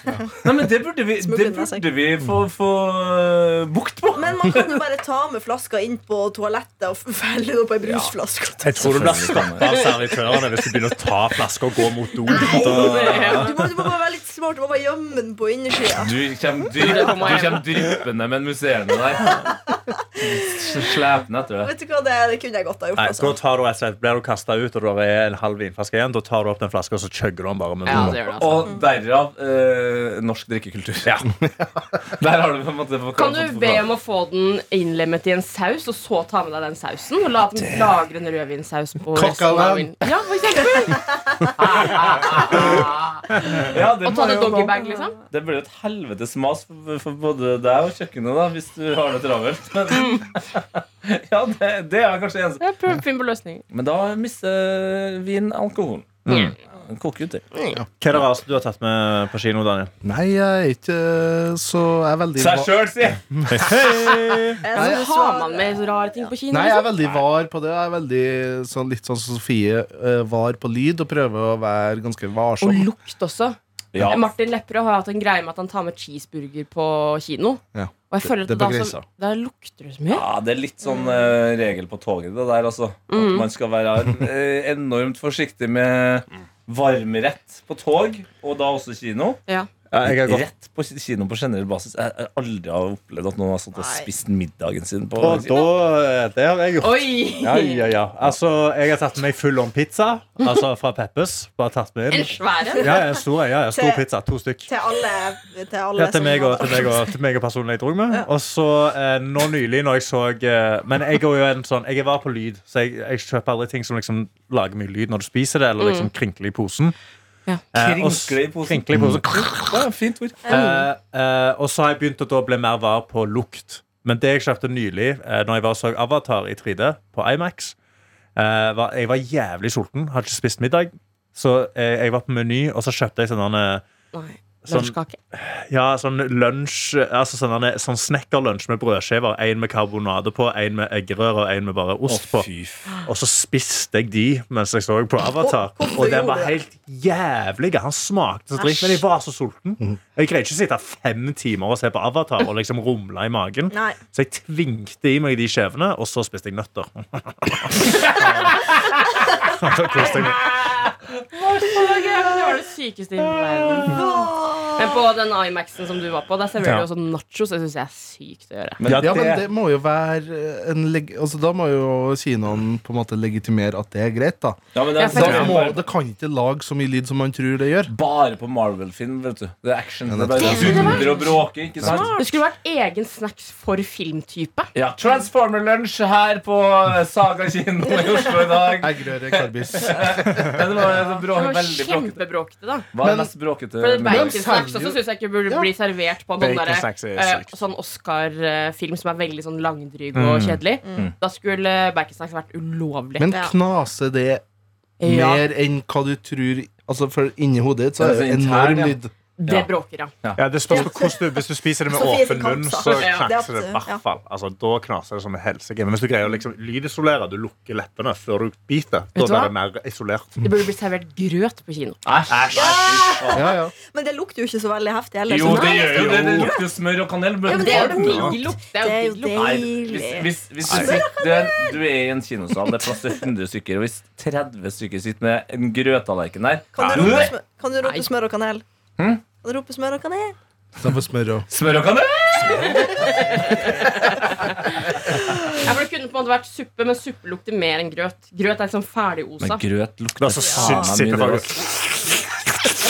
[SPEAKER 2] Nei, men Det burde vi, det
[SPEAKER 4] Smuglene, altså.
[SPEAKER 2] burde vi få, få øh, bukt på.
[SPEAKER 4] Men man kan jo bare ta med flaska inn på toalettet og felle det opp på ei brusflaske.
[SPEAKER 3] Jeg tror du blir stoppa av servitørene hvis du begynner å ta flasker og gå mot do.
[SPEAKER 4] Du må, du må bare være litt smart. Du må bare gjemme den på innersida.
[SPEAKER 2] Du kommer drypp- du kommer dryppende, men musserende der. Slepende etter deg.
[SPEAKER 4] Vet du hva, det, det kunne jeg godt ha gjort.
[SPEAKER 3] Nei, da
[SPEAKER 4] Altså.
[SPEAKER 3] tar du et slett, Blir du kasta ut, og det er en halv vinflaske igjen, da tar du opp den flaska og så chugger du den bare med
[SPEAKER 5] Ja, det
[SPEAKER 3] munnen.
[SPEAKER 5] gjør det, altså.
[SPEAKER 2] Og derav øh, norsk drikkekultur.
[SPEAKER 3] Ja.
[SPEAKER 2] Der har du på en måte fått-
[SPEAKER 5] Kan
[SPEAKER 2] fått
[SPEAKER 5] du be
[SPEAKER 2] forklart.
[SPEAKER 5] om å få den innlemmet i en saus, og så ta med deg den sausen? Og la den lagre en rødvinsaus på
[SPEAKER 6] Coq
[SPEAKER 5] resten av
[SPEAKER 6] Alain.
[SPEAKER 5] vin- Ja, for eksempel.
[SPEAKER 2] ja, det
[SPEAKER 5] Og
[SPEAKER 2] må
[SPEAKER 5] ta det
[SPEAKER 2] jeg jo
[SPEAKER 5] doggybag, liksom.
[SPEAKER 2] Det blir jo et helvetes mas for, for både deg og kjøkkenet da hvis du har det travelt. Men,
[SPEAKER 5] Mm.
[SPEAKER 2] ja, det, det er kanskje eneste.
[SPEAKER 5] Ja, Prøv å finne på løsninger.
[SPEAKER 2] Men da mister vin alkoholen.
[SPEAKER 5] Mm.
[SPEAKER 2] Den koker jo til.
[SPEAKER 3] Hva er det rareste Altså, du har tatt med på kino, Daniel?
[SPEAKER 6] Nei, jeg er ikke eh, så Jeg er veldig
[SPEAKER 2] Seg sjøl, si!
[SPEAKER 5] Ja, så har man med så rare ting på kino?
[SPEAKER 6] Nei, jeg er
[SPEAKER 5] Liksom.
[SPEAKER 6] veldig var på det. Jeg er veldig sånn, Litt sånn som Sofie eh, var på lyd, og prøver å være ganske
[SPEAKER 5] Og
[SPEAKER 6] varsom.
[SPEAKER 5] lukt også.
[SPEAKER 2] Ja.
[SPEAKER 5] Martin Lepperød har hatt en greie med at han tar med cheeseburger på kino.
[SPEAKER 6] Ja.
[SPEAKER 5] Og jeg føler at
[SPEAKER 6] Det- det
[SPEAKER 5] da,
[SPEAKER 6] begrenser.
[SPEAKER 5] så, da lukter det så mye.
[SPEAKER 2] ja, det er litt sånn eh, regel på toget, det der, altså.
[SPEAKER 5] Mm.
[SPEAKER 2] At man skal være eh, enormt forsiktig med
[SPEAKER 3] Mm.
[SPEAKER 2] varmrett på tog, og da også kino.
[SPEAKER 5] Ja.
[SPEAKER 3] jeg
[SPEAKER 2] Rett på ki- kino på generell basis. Jeg jeg aldri har opplevd at noen har satt og
[SPEAKER 4] Nei.
[SPEAKER 2] spist middagen sin på
[SPEAKER 3] Og da eh, Det har jeg gjort.
[SPEAKER 5] Oi!
[SPEAKER 3] Ja, ja, ja. Altså, jeg har tatt med meg full on pizza Altså fra Peppes. Bare tatt med
[SPEAKER 5] En
[SPEAKER 3] inn.
[SPEAKER 5] svær en.
[SPEAKER 3] Ja, en stor, ja, en stor
[SPEAKER 4] Til-
[SPEAKER 3] pizza. To stykk.
[SPEAKER 4] Til alle, til alle
[SPEAKER 3] Ja, til
[SPEAKER 4] som
[SPEAKER 3] meg og,
[SPEAKER 4] har-
[SPEAKER 3] til meg og, til meg og personen jeg dro med. Og så eh, nå nylig, når jeg så eh, Men jeg er jo en sånn Jeg var på lyd, så jeg, jeg kjøper aldri ting som liksom lager mye lyd når du spiser det, eller liksom krinkler i posen.
[SPEAKER 5] Mm. Ja.
[SPEAKER 3] Eh, og s-
[SPEAKER 2] Krinkle i posen.
[SPEAKER 3] Krinkler i posen.
[SPEAKER 2] Ja, fint ord.
[SPEAKER 3] Eh, eh, og så har jeg begynt å da bli mer var på lukt. Men det jeg kjøpte nylig, eh, når jeg var og så Avatar i 3D på Imax eh, var, Jeg var jævlig sulten, hadde ikke spist middag. Så eh, jeg var på Meny, og så kjøpte jeg sånn
[SPEAKER 5] Nei,
[SPEAKER 3] Sånn-
[SPEAKER 5] Lunsjkake.
[SPEAKER 3] ja, sånn lunsj Altså sånn, derne- sånn snekkerlunsj med brødskiver. Én med karbonade på, én med eggerøre og én med bare ost på. Og så spiste jeg de mens jeg så på Avatar.
[SPEAKER 4] Å, hvorfor
[SPEAKER 3] Og den
[SPEAKER 4] gjorde
[SPEAKER 3] var
[SPEAKER 4] du det?
[SPEAKER 3] helt jævlig. Han smakte så dritt, men jeg var så sulten. Jeg greide ikke å sitte fem timer og se på Avatar og liksom rumle i magen.
[SPEAKER 4] Nei.
[SPEAKER 3] Så jeg tvingte i meg de skjevene, og så spiste jeg nøtter. Så koste jeg meg.
[SPEAKER 5] Det var det sykeste i verden. Men på den iMax-en som du var på, der serverer
[SPEAKER 3] Ja.
[SPEAKER 5] de også nachos. Det syns jeg er sykt å gjøre.
[SPEAKER 6] ja, men det må jo være eh, en leg altså, Da må jo kinoen på en måte legitimere at det er greit, da.
[SPEAKER 2] Ja, men det,
[SPEAKER 5] Ja, for-
[SPEAKER 2] er-
[SPEAKER 6] Da
[SPEAKER 2] det
[SPEAKER 6] må,
[SPEAKER 2] er bare,
[SPEAKER 6] det kan ikke lage så mye lyd som man tror det gjør.
[SPEAKER 2] bare på Marvel-film, vet du. Det er action.
[SPEAKER 6] Ja,
[SPEAKER 2] det er
[SPEAKER 6] det-
[SPEAKER 2] bare dundrer og bråker, ikke sant?
[SPEAKER 5] Det skulle vært egen snacks for filmtype.
[SPEAKER 2] Ja, Transformer-lunsj her på eh, Saga kino i Oslo i dag.
[SPEAKER 6] Eggerøre, karbis.
[SPEAKER 2] Men det var det
[SPEAKER 5] Det
[SPEAKER 2] bråk,
[SPEAKER 5] var
[SPEAKER 2] veldig bråkete.
[SPEAKER 5] kjempebråkete, da.
[SPEAKER 2] Hva er
[SPEAKER 6] Men-
[SPEAKER 2] mest bråkete?
[SPEAKER 5] For det
[SPEAKER 2] Men-
[SPEAKER 5] Baconsnacks
[SPEAKER 6] selger
[SPEAKER 5] også
[SPEAKER 6] jo-
[SPEAKER 5] syns jeg ikke burde
[SPEAKER 6] Ja.
[SPEAKER 5] bli servert på en sånn derre,
[SPEAKER 3] Baconsnacks er
[SPEAKER 5] eh,
[SPEAKER 3] sykt. Mm.
[SPEAKER 5] sånn Oscar-film som er veldig sånn langdryg og kjedelig. Da skulle baconsnacks vært ulovlig.
[SPEAKER 6] Men
[SPEAKER 4] Ja.
[SPEAKER 6] knaser det
[SPEAKER 5] ja,
[SPEAKER 6] mer enn hva du tror Altså, for inni hodet ditt så er
[SPEAKER 2] Det
[SPEAKER 6] det
[SPEAKER 2] er så intern,
[SPEAKER 6] enorm
[SPEAKER 2] ja.
[SPEAKER 6] lyd.
[SPEAKER 5] det
[SPEAKER 2] Ja.
[SPEAKER 5] bråker, ja.
[SPEAKER 3] Ja, det spørs på hvordan du, Hvis du spiser det med
[SPEAKER 4] Sofie
[SPEAKER 3] åpen
[SPEAKER 4] fikk
[SPEAKER 3] munn,
[SPEAKER 4] hamsa.
[SPEAKER 3] så
[SPEAKER 5] Ja.
[SPEAKER 3] knaser det i
[SPEAKER 4] Det er
[SPEAKER 3] hvert
[SPEAKER 4] absolutt,
[SPEAKER 3] fall. Altså, da knaser det som en helsike. Men hvis du greier å liksom lydisolere, du lukker leppene før du biter, da
[SPEAKER 5] Vet du
[SPEAKER 3] blir
[SPEAKER 5] hva?
[SPEAKER 3] det mer isolert.
[SPEAKER 5] Det burde blitt servert grøt på kino.
[SPEAKER 2] Æsj!
[SPEAKER 6] Ja, ja.
[SPEAKER 4] Men det lukter jo ikke så veldig heftig heller.
[SPEAKER 2] Jo,
[SPEAKER 4] så
[SPEAKER 2] det
[SPEAKER 4] nei.
[SPEAKER 2] gjør jo det. Det lukter smør og kanel. Men
[SPEAKER 4] Ja, men
[SPEAKER 5] Det er
[SPEAKER 4] det
[SPEAKER 5] jo
[SPEAKER 4] er
[SPEAKER 5] digg lukt. Det
[SPEAKER 4] Det
[SPEAKER 5] er
[SPEAKER 4] er jo
[SPEAKER 5] jo digg lukt.
[SPEAKER 2] Nei,
[SPEAKER 4] deilig.
[SPEAKER 2] hvis, hvis, hvis du, sitter, du er i en kinosal, det er plass til 100 stykker, og hvis 30 stykker sitter med en grøttallerken der
[SPEAKER 4] Kan du rope, smør, kan du rope
[SPEAKER 5] Nei.
[SPEAKER 4] smør og kanel? Kan du rope smør og kanel?
[SPEAKER 6] Så får smør og
[SPEAKER 2] Smør og kanel!
[SPEAKER 5] Ja, for det kunne på en måte vært suppe, men suppe lukter mer enn grøt. Grøt er liksom ferdigosa.
[SPEAKER 2] Men grøt lukter
[SPEAKER 3] Det er så sykt sitte faktisk.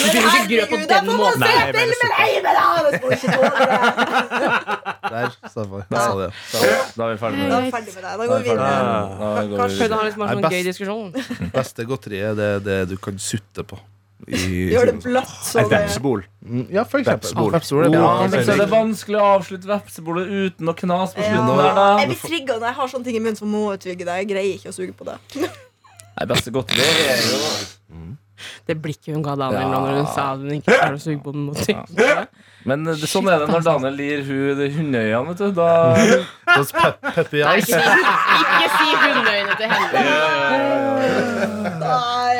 [SPEAKER 5] Du finner ikke grøt på
[SPEAKER 4] Herregud,
[SPEAKER 5] den
[SPEAKER 4] jeg får
[SPEAKER 5] måten.
[SPEAKER 4] bare
[SPEAKER 3] Nei,
[SPEAKER 4] se
[SPEAKER 3] veldig
[SPEAKER 4] filmen!
[SPEAKER 3] suppe.
[SPEAKER 4] Nei, men da, det må ikke tåle det.
[SPEAKER 6] Der sa jeg det.
[SPEAKER 2] Da er vi ferdig med
[SPEAKER 4] Da
[SPEAKER 2] det.
[SPEAKER 4] er vi ferdig med det. Da
[SPEAKER 2] Da
[SPEAKER 4] går
[SPEAKER 2] er vi
[SPEAKER 4] vi
[SPEAKER 2] ferdig
[SPEAKER 4] videre.
[SPEAKER 2] med det. Da går vi
[SPEAKER 4] Kanskje
[SPEAKER 5] Prøvde å
[SPEAKER 2] videre.
[SPEAKER 5] ha liksom en
[SPEAKER 6] Nei,
[SPEAKER 5] sånn
[SPEAKER 6] best-
[SPEAKER 5] gøy diskusjon.
[SPEAKER 6] Beste godteriet det er det du kan sutte på. I
[SPEAKER 4] Gjør det bløtt, så
[SPEAKER 3] Et
[SPEAKER 4] det
[SPEAKER 3] vepsebol.
[SPEAKER 6] Mm, Ja, for eksempel.
[SPEAKER 3] Vepsebol.
[SPEAKER 6] Vepsebol er
[SPEAKER 2] Ja,
[SPEAKER 6] bra.
[SPEAKER 2] men
[SPEAKER 6] Kanskje
[SPEAKER 2] så er det
[SPEAKER 6] ikke.
[SPEAKER 2] vanskelig å avslutte vepsebolet uten å knas på slutten
[SPEAKER 4] Ja.
[SPEAKER 2] der, da.
[SPEAKER 4] Jeg blir trigga når jeg har sånne ting i munnen, så må jeg trygge det. Jeg greier ikke å suge på det.
[SPEAKER 2] Nei, beste godteri er jo
[SPEAKER 5] det blikket hun ga Daniel nå når hun
[SPEAKER 2] Ja.
[SPEAKER 5] sa at hun ikke klarer å suge på den måten.
[SPEAKER 2] Men eh, det, sånn er det når Daniel lir hun de hundeøynene, vet du. Da,
[SPEAKER 6] Those pep- peppy eyes.
[SPEAKER 5] Ikke si hundeøyne til henne.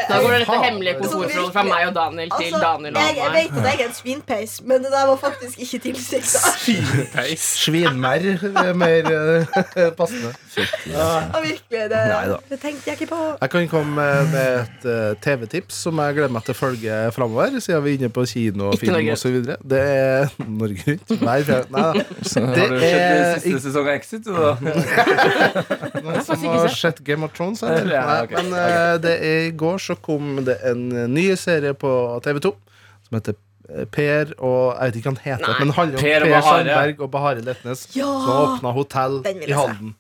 [SPEAKER 5] Da går det dette hemmelige kontorforholdet fra meg og Daniel til Daniel
[SPEAKER 4] Altså, jeg, jeg
[SPEAKER 5] og meg.
[SPEAKER 4] vet at jeg er en svinpeis, men det der var faktisk ikke tilsikta.
[SPEAKER 6] Svinmerr er mer eh, passende.
[SPEAKER 4] Virkelig, det, det tenkte jeg ikke på.
[SPEAKER 6] Jeg kan komme med et eh, TV-tips som jeg gleder meg til å følge framover, siden vi er inne på kino og
[SPEAKER 5] Ikke
[SPEAKER 6] film
[SPEAKER 5] Norge Rundt.
[SPEAKER 6] osv. Det er Norge Rundt. Nei, fra- nei,
[SPEAKER 2] har
[SPEAKER 6] da.
[SPEAKER 2] du
[SPEAKER 6] det
[SPEAKER 2] sett eh,
[SPEAKER 6] er
[SPEAKER 2] siste sesong av Exit? du, Da?
[SPEAKER 6] noen
[SPEAKER 5] faktisk
[SPEAKER 6] som
[SPEAKER 5] ikke
[SPEAKER 6] har
[SPEAKER 5] sett.
[SPEAKER 6] sett Game of Thrones. Eller?
[SPEAKER 2] Ja,
[SPEAKER 6] Nei,
[SPEAKER 2] ok.
[SPEAKER 6] men eh, det er, i går så kom det en eh, ny serie på TV2 som heter eh, Per og Jeg vet ikke hva han heter, men det handler om
[SPEAKER 2] Per og
[SPEAKER 6] Per,
[SPEAKER 2] Bahare.
[SPEAKER 6] Sandberg og Bahare Letnes
[SPEAKER 4] Ja!
[SPEAKER 6] som har åpna hotell
[SPEAKER 4] Den vil jeg
[SPEAKER 6] i
[SPEAKER 4] se.
[SPEAKER 6] Halden.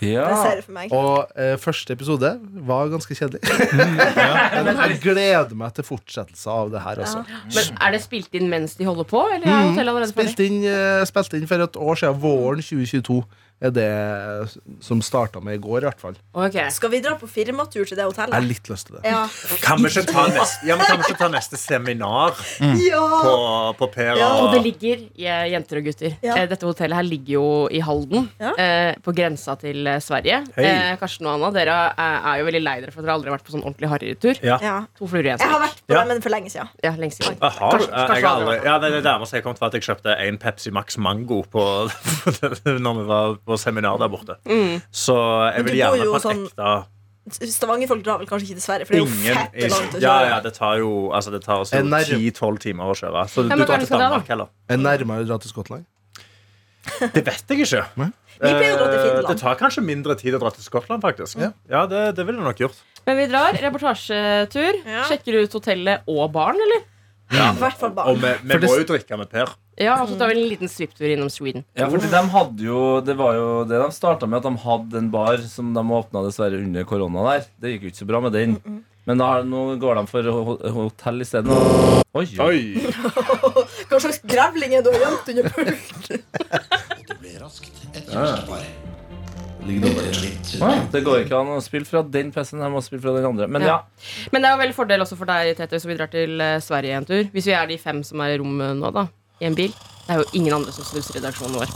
[SPEAKER 4] Det
[SPEAKER 2] Ja.
[SPEAKER 4] ser det for meg.
[SPEAKER 6] Og eh, første episode var ganske kjedelig. Men jeg gleder meg til fortsettelsen av det her. Altså.
[SPEAKER 5] Men er det spilt inn mens de holder på, eller er hotellet allerede ferdig?
[SPEAKER 6] Spilt, inn, eh, spilt inn for et år siden. Våren 2022 er det eh, som starta med i går, i hvert fall.
[SPEAKER 5] Ok.
[SPEAKER 4] Skal vi dra på firmatur til det
[SPEAKER 6] Jeg har
[SPEAKER 4] hotellet?
[SPEAKER 6] litt lyst til det.
[SPEAKER 4] Ja.
[SPEAKER 3] Kan vi ikke ta neste, ja, men kan vi ikke ta neste seminar på,
[SPEAKER 4] ja.
[SPEAKER 3] på Per?
[SPEAKER 4] Ja,
[SPEAKER 5] Og
[SPEAKER 3] og-
[SPEAKER 5] det ligger, ja, jenter og gutter
[SPEAKER 4] Ja.
[SPEAKER 5] eh, Dette hotellet her ligger jo i Halden
[SPEAKER 4] Ja.
[SPEAKER 5] eh, På grensa til eh, Sverige
[SPEAKER 3] Hei.
[SPEAKER 5] eh, Karsten og Anna, dere eh, er jo veldig lei dere For dere har aldri vært på sånn ordentlig harritur
[SPEAKER 3] Ja.
[SPEAKER 4] ja.
[SPEAKER 5] To fluer i en
[SPEAKER 4] Jeg har
[SPEAKER 5] smekk.
[SPEAKER 4] vært på
[SPEAKER 3] Ja.
[SPEAKER 4] det, men for lenge siden.
[SPEAKER 5] Ja, lenge siden
[SPEAKER 3] Jeg har,
[SPEAKER 5] Kanskje-
[SPEAKER 3] jeg,
[SPEAKER 5] kanskje
[SPEAKER 3] har aldri,
[SPEAKER 5] aldri.
[SPEAKER 3] ja, det er det nærmeste jeg kom til at jeg kjøpte en Pepsi Max Mango på, når vi var på seminar der borte. Så jeg
[SPEAKER 4] Mm. Men
[SPEAKER 3] vil
[SPEAKER 4] du bor
[SPEAKER 3] gjerne
[SPEAKER 4] jo
[SPEAKER 3] på en
[SPEAKER 4] sånn-
[SPEAKER 3] ekte
[SPEAKER 4] Stavanger-folk drar vel kanskje ikke til Sverige, for det er jo
[SPEAKER 3] Ingen
[SPEAKER 4] fett langt å
[SPEAKER 3] Ja,
[SPEAKER 4] kjøre.
[SPEAKER 3] ja, det tar jo altså, Det tar
[SPEAKER 6] En nærm-
[SPEAKER 3] 10-12 timer å kjøre. Så
[SPEAKER 5] men
[SPEAKER 3] du
[SPEAKER 5] hva
[SPEAKER 3] drar
[SPEAKER 5] er det
[SPEAKER 3] til
[SPEAKER 5] skal da, da?
[SPEAKER 3] Danmark heller?
[SPEAKER 6] Er nærmere å dra til Skottland?
[SPEAKER 3] Det vet jeg ikke.
[SPEAKER 4] Vi pleier å dra til
[SPEAKER 3] Eh,
[SPEAKER 4] Finland.
[SPEAKER 3] Det tar kanskje mindre tid å dra til Skottland, faktisk. Ja, det, det ville jeg nok gjort.
[SPEAKER 5] Men vi drar, reportasjetur
[SPEAKER 4] Ja.
[SPEAKER 5] Sjekker ut hotellet og barn, eller?
[SPEAKER 4] I hvert fall
[SPEAKER 3] Og
[SPEAKER 4] barn.
[SPEAKER 3] vi, vi
[SPEAKER 6] For det-
[SPEAKER 3] må jo drikke med Per.
[SPEAKER 5] Ja, og så tar vi en liten svipptur innom Sweden
[SPEAKER 2] Ja, fordi de hadde jo Det var jo det de starta med, at de hadde en bar som de åpna dessverre under korona der. Det gikk jo ikke så bra med den. Men da, har- nå går de for ho- ho- hotell isteden. Oi, oi.
[SPEAKER 4] Hva slags grevling er du har gjemt under pult?
[SPEAKER 2] Det går ikke an å spille fra den PC-en. Jeg må spille fra den andre. Men ja.
[SPEAKER 5] Ja. Men det er jo veldig fordel også for deg, Tete, hvis vi drar til eh, Sverige en tur Hvis vi er de fem som er i rommet nå, da I en bil Det er jo ingen andre som snusser redaksjonen vår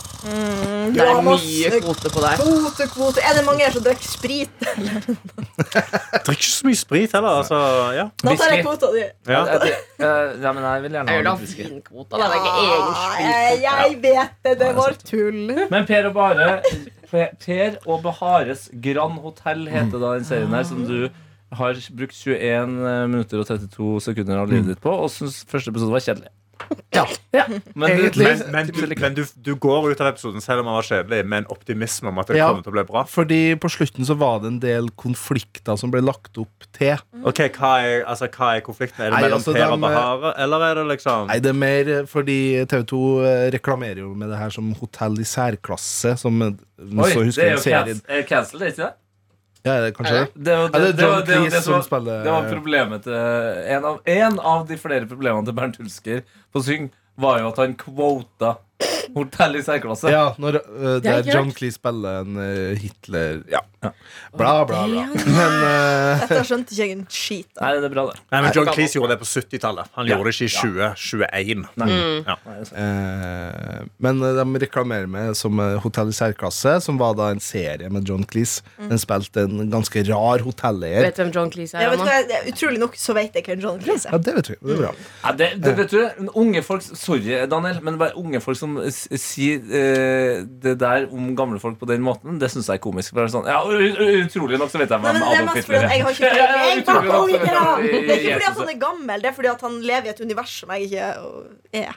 [SPEAKER 5] Det
[SPEAKER 4] Ja,
[SPEAKER 5] er
[SPEAKER 4] masse
[SPEAKER 5] mye kvote på deg
[SPEAKER 4] Kvote, kvote. Er det mange her som drikker sprit?
[SPEAKER 3] Drikk ikke så mye sprit heller. Altså, ja.
[SPEAKER 4] Da tar
[SPEAKER 2] Whisky.
[SPEAKER 4] jeg kvota di.
[SPEAKER 2] Jeg,
[SPEAKER 3] Ja.
[SPEAKER 2] jeg, jeg, ja, men jeg vil gjerne ha
[SPEAKER 5] Øl
[SPEAKER 2] litt
[SPEAKER 5] og
[SPEAKER 2] whisky.
[SPEAKER 5] vinkvote, da. Det er ikke egen
[SPEAKER 4] jeg,
[SPEAKER 5] sprit.
[SPEAKER 4] jeg vet det. Det var tull.
[SPEAKER 2] Men Per og Bare Per- Per og Bahares Grand Hotel heter da den serien her som du har brukt 21 minutter og 32 sekunder av livet ditt på og syns første episode var kjedelig. Ja. Men du,
[SPEAKER 6] Egentlig-
[SPEAKER 3] Men, men, du, men du, du går ut av episoden selv om den var kjedelig, med en optimisme om at det
[SPEAKER 6] Ja.
[SPEAKER 3] kommer til å bli bra.
[SPEAKER 6] Fordi på slutten så var det en del konflikter som ble lagt opp til.
[SPEAKER 3] Ok, Hva er, altså, hva er konflikten? Er det
[SPEAKER 6] Nei,
[SPEAKER 3] mellom
[SPEAKER 6] altså,
[SPEAKER 3] Per og
[SPEAKER 6] dem, eh,
[SPEAKER 3] Bahare, eller er det liksom
[SPEAKER 6] Nei, det er mer eh, fordi TV2 eh, reklamerer jo med det her som hotell i særklasse, som eh,
[SPEAKER 2] Oi,
[SPEAKER 6] så
[SPEAKER 2] det
[SPEAKER 6] husker
[SPEAKER 2] er
[SPEAKER 6] jeg
[SPEAKER 2] jo
[SPEAKER 6] serien.
[SPEAKER 2] cancel, er cancel, det er ikke det?
[SPEAKER 6] Ja, er det kanskje det?
[SPEAKER 2] Det er jo
[SPEAKER 6] Ja, det
[SPEAKER 2] det,
[SPEAKER 6] er
[SPEAKER 2] det, var- det,
[SPEAKER 6] John
[SPEAKER 2] var- det,
[SPEAKER 6] Cleese
[SPEAKER 2] som var-
[SPEAKER 6] som spiller-
[SPEAKER 2] det var problemet til eh, en av, en av de flere problemene til Bernt Hulsker på Syng, var jo at han kvota hotell i særklasse.
[SPEAKER 6] Ja, når, eh,
[SPEAKER 5] Det
[SPEAKER 6] det
[SPEAKER 5] er
[SPEAKER 6] er
[SPEAKER 5] ikke
[SPEAKER 6] John
[SPEAKER 5] rart.
[SPEAKER 6] Cleese spiller en eh, Hitler Ja. Bla, bla, bla. Men eh,
[SPEAKER 4] Dette skjønte ikke jeg en skit av.
[SPEAKER 2] Nei, det er bra, det.
[SPEAKER 3] Nei, men John Cleese gjorde det på 70-tallet. Han
[SPEAKER 2] Ja.
[SPEAKER 3] gjorde det ikke i 2021.
[SPEAKER 6] eh, Men eh, de reklamerer med som eh, Hotell i særklasse, som var da en serie med John Cleese. Den spilte en ganske rar hotelleier.
[SPEAKER 5] Vet du hvem John Cleese
[SPEAKER 4] Jeg
[SPEAKER 5] er?
[SPEAKER 4] vet
[SPEAKER 5] Anna?
[SPEAKER 4] hva, jeg- utrolig nok så vet jeg hvem John Cleese
[SPEAKER 6] Ja,
[SPEAKER 4] er.
[SPEAKER 6] det vet vi. Det er bra.
[SPEAKER 2] Ja, det, det vet du, unge folk Sorry, Daniel, men bare unge folk som s- sier eh, det der om gamle folk på den måten, det syns jeg er komisk. For det er sånn, ja, u- u- Utrolig nok så vet jeg
[SPEAKER 4] Nei,
[SPEAKER 2] hvem
[SPEAKER 4] men det er
[SPEAKER 2] Adolf
[SPEAKER 4] mest fordi
[SPEAKER 2] Hitler
[SPEAKER 4] at
[SPEAKER 2] er.
[SPEAKER 4] jeg har ikke
[SPEAKER 2] Ja, ja,
[SPEAKER 4] Jeg var
[SPEAKER 2] utrolig nok så vet
[SPEAKER 4] ikke
[SPEAKER 2] jeg-
[SPEAKER 4] Det er ikke fordi at
[SPEAKER 2] Jesus.
[SPEAKER 4] han er gammel, det er fordi at han lever i et univers som jeg ikke er.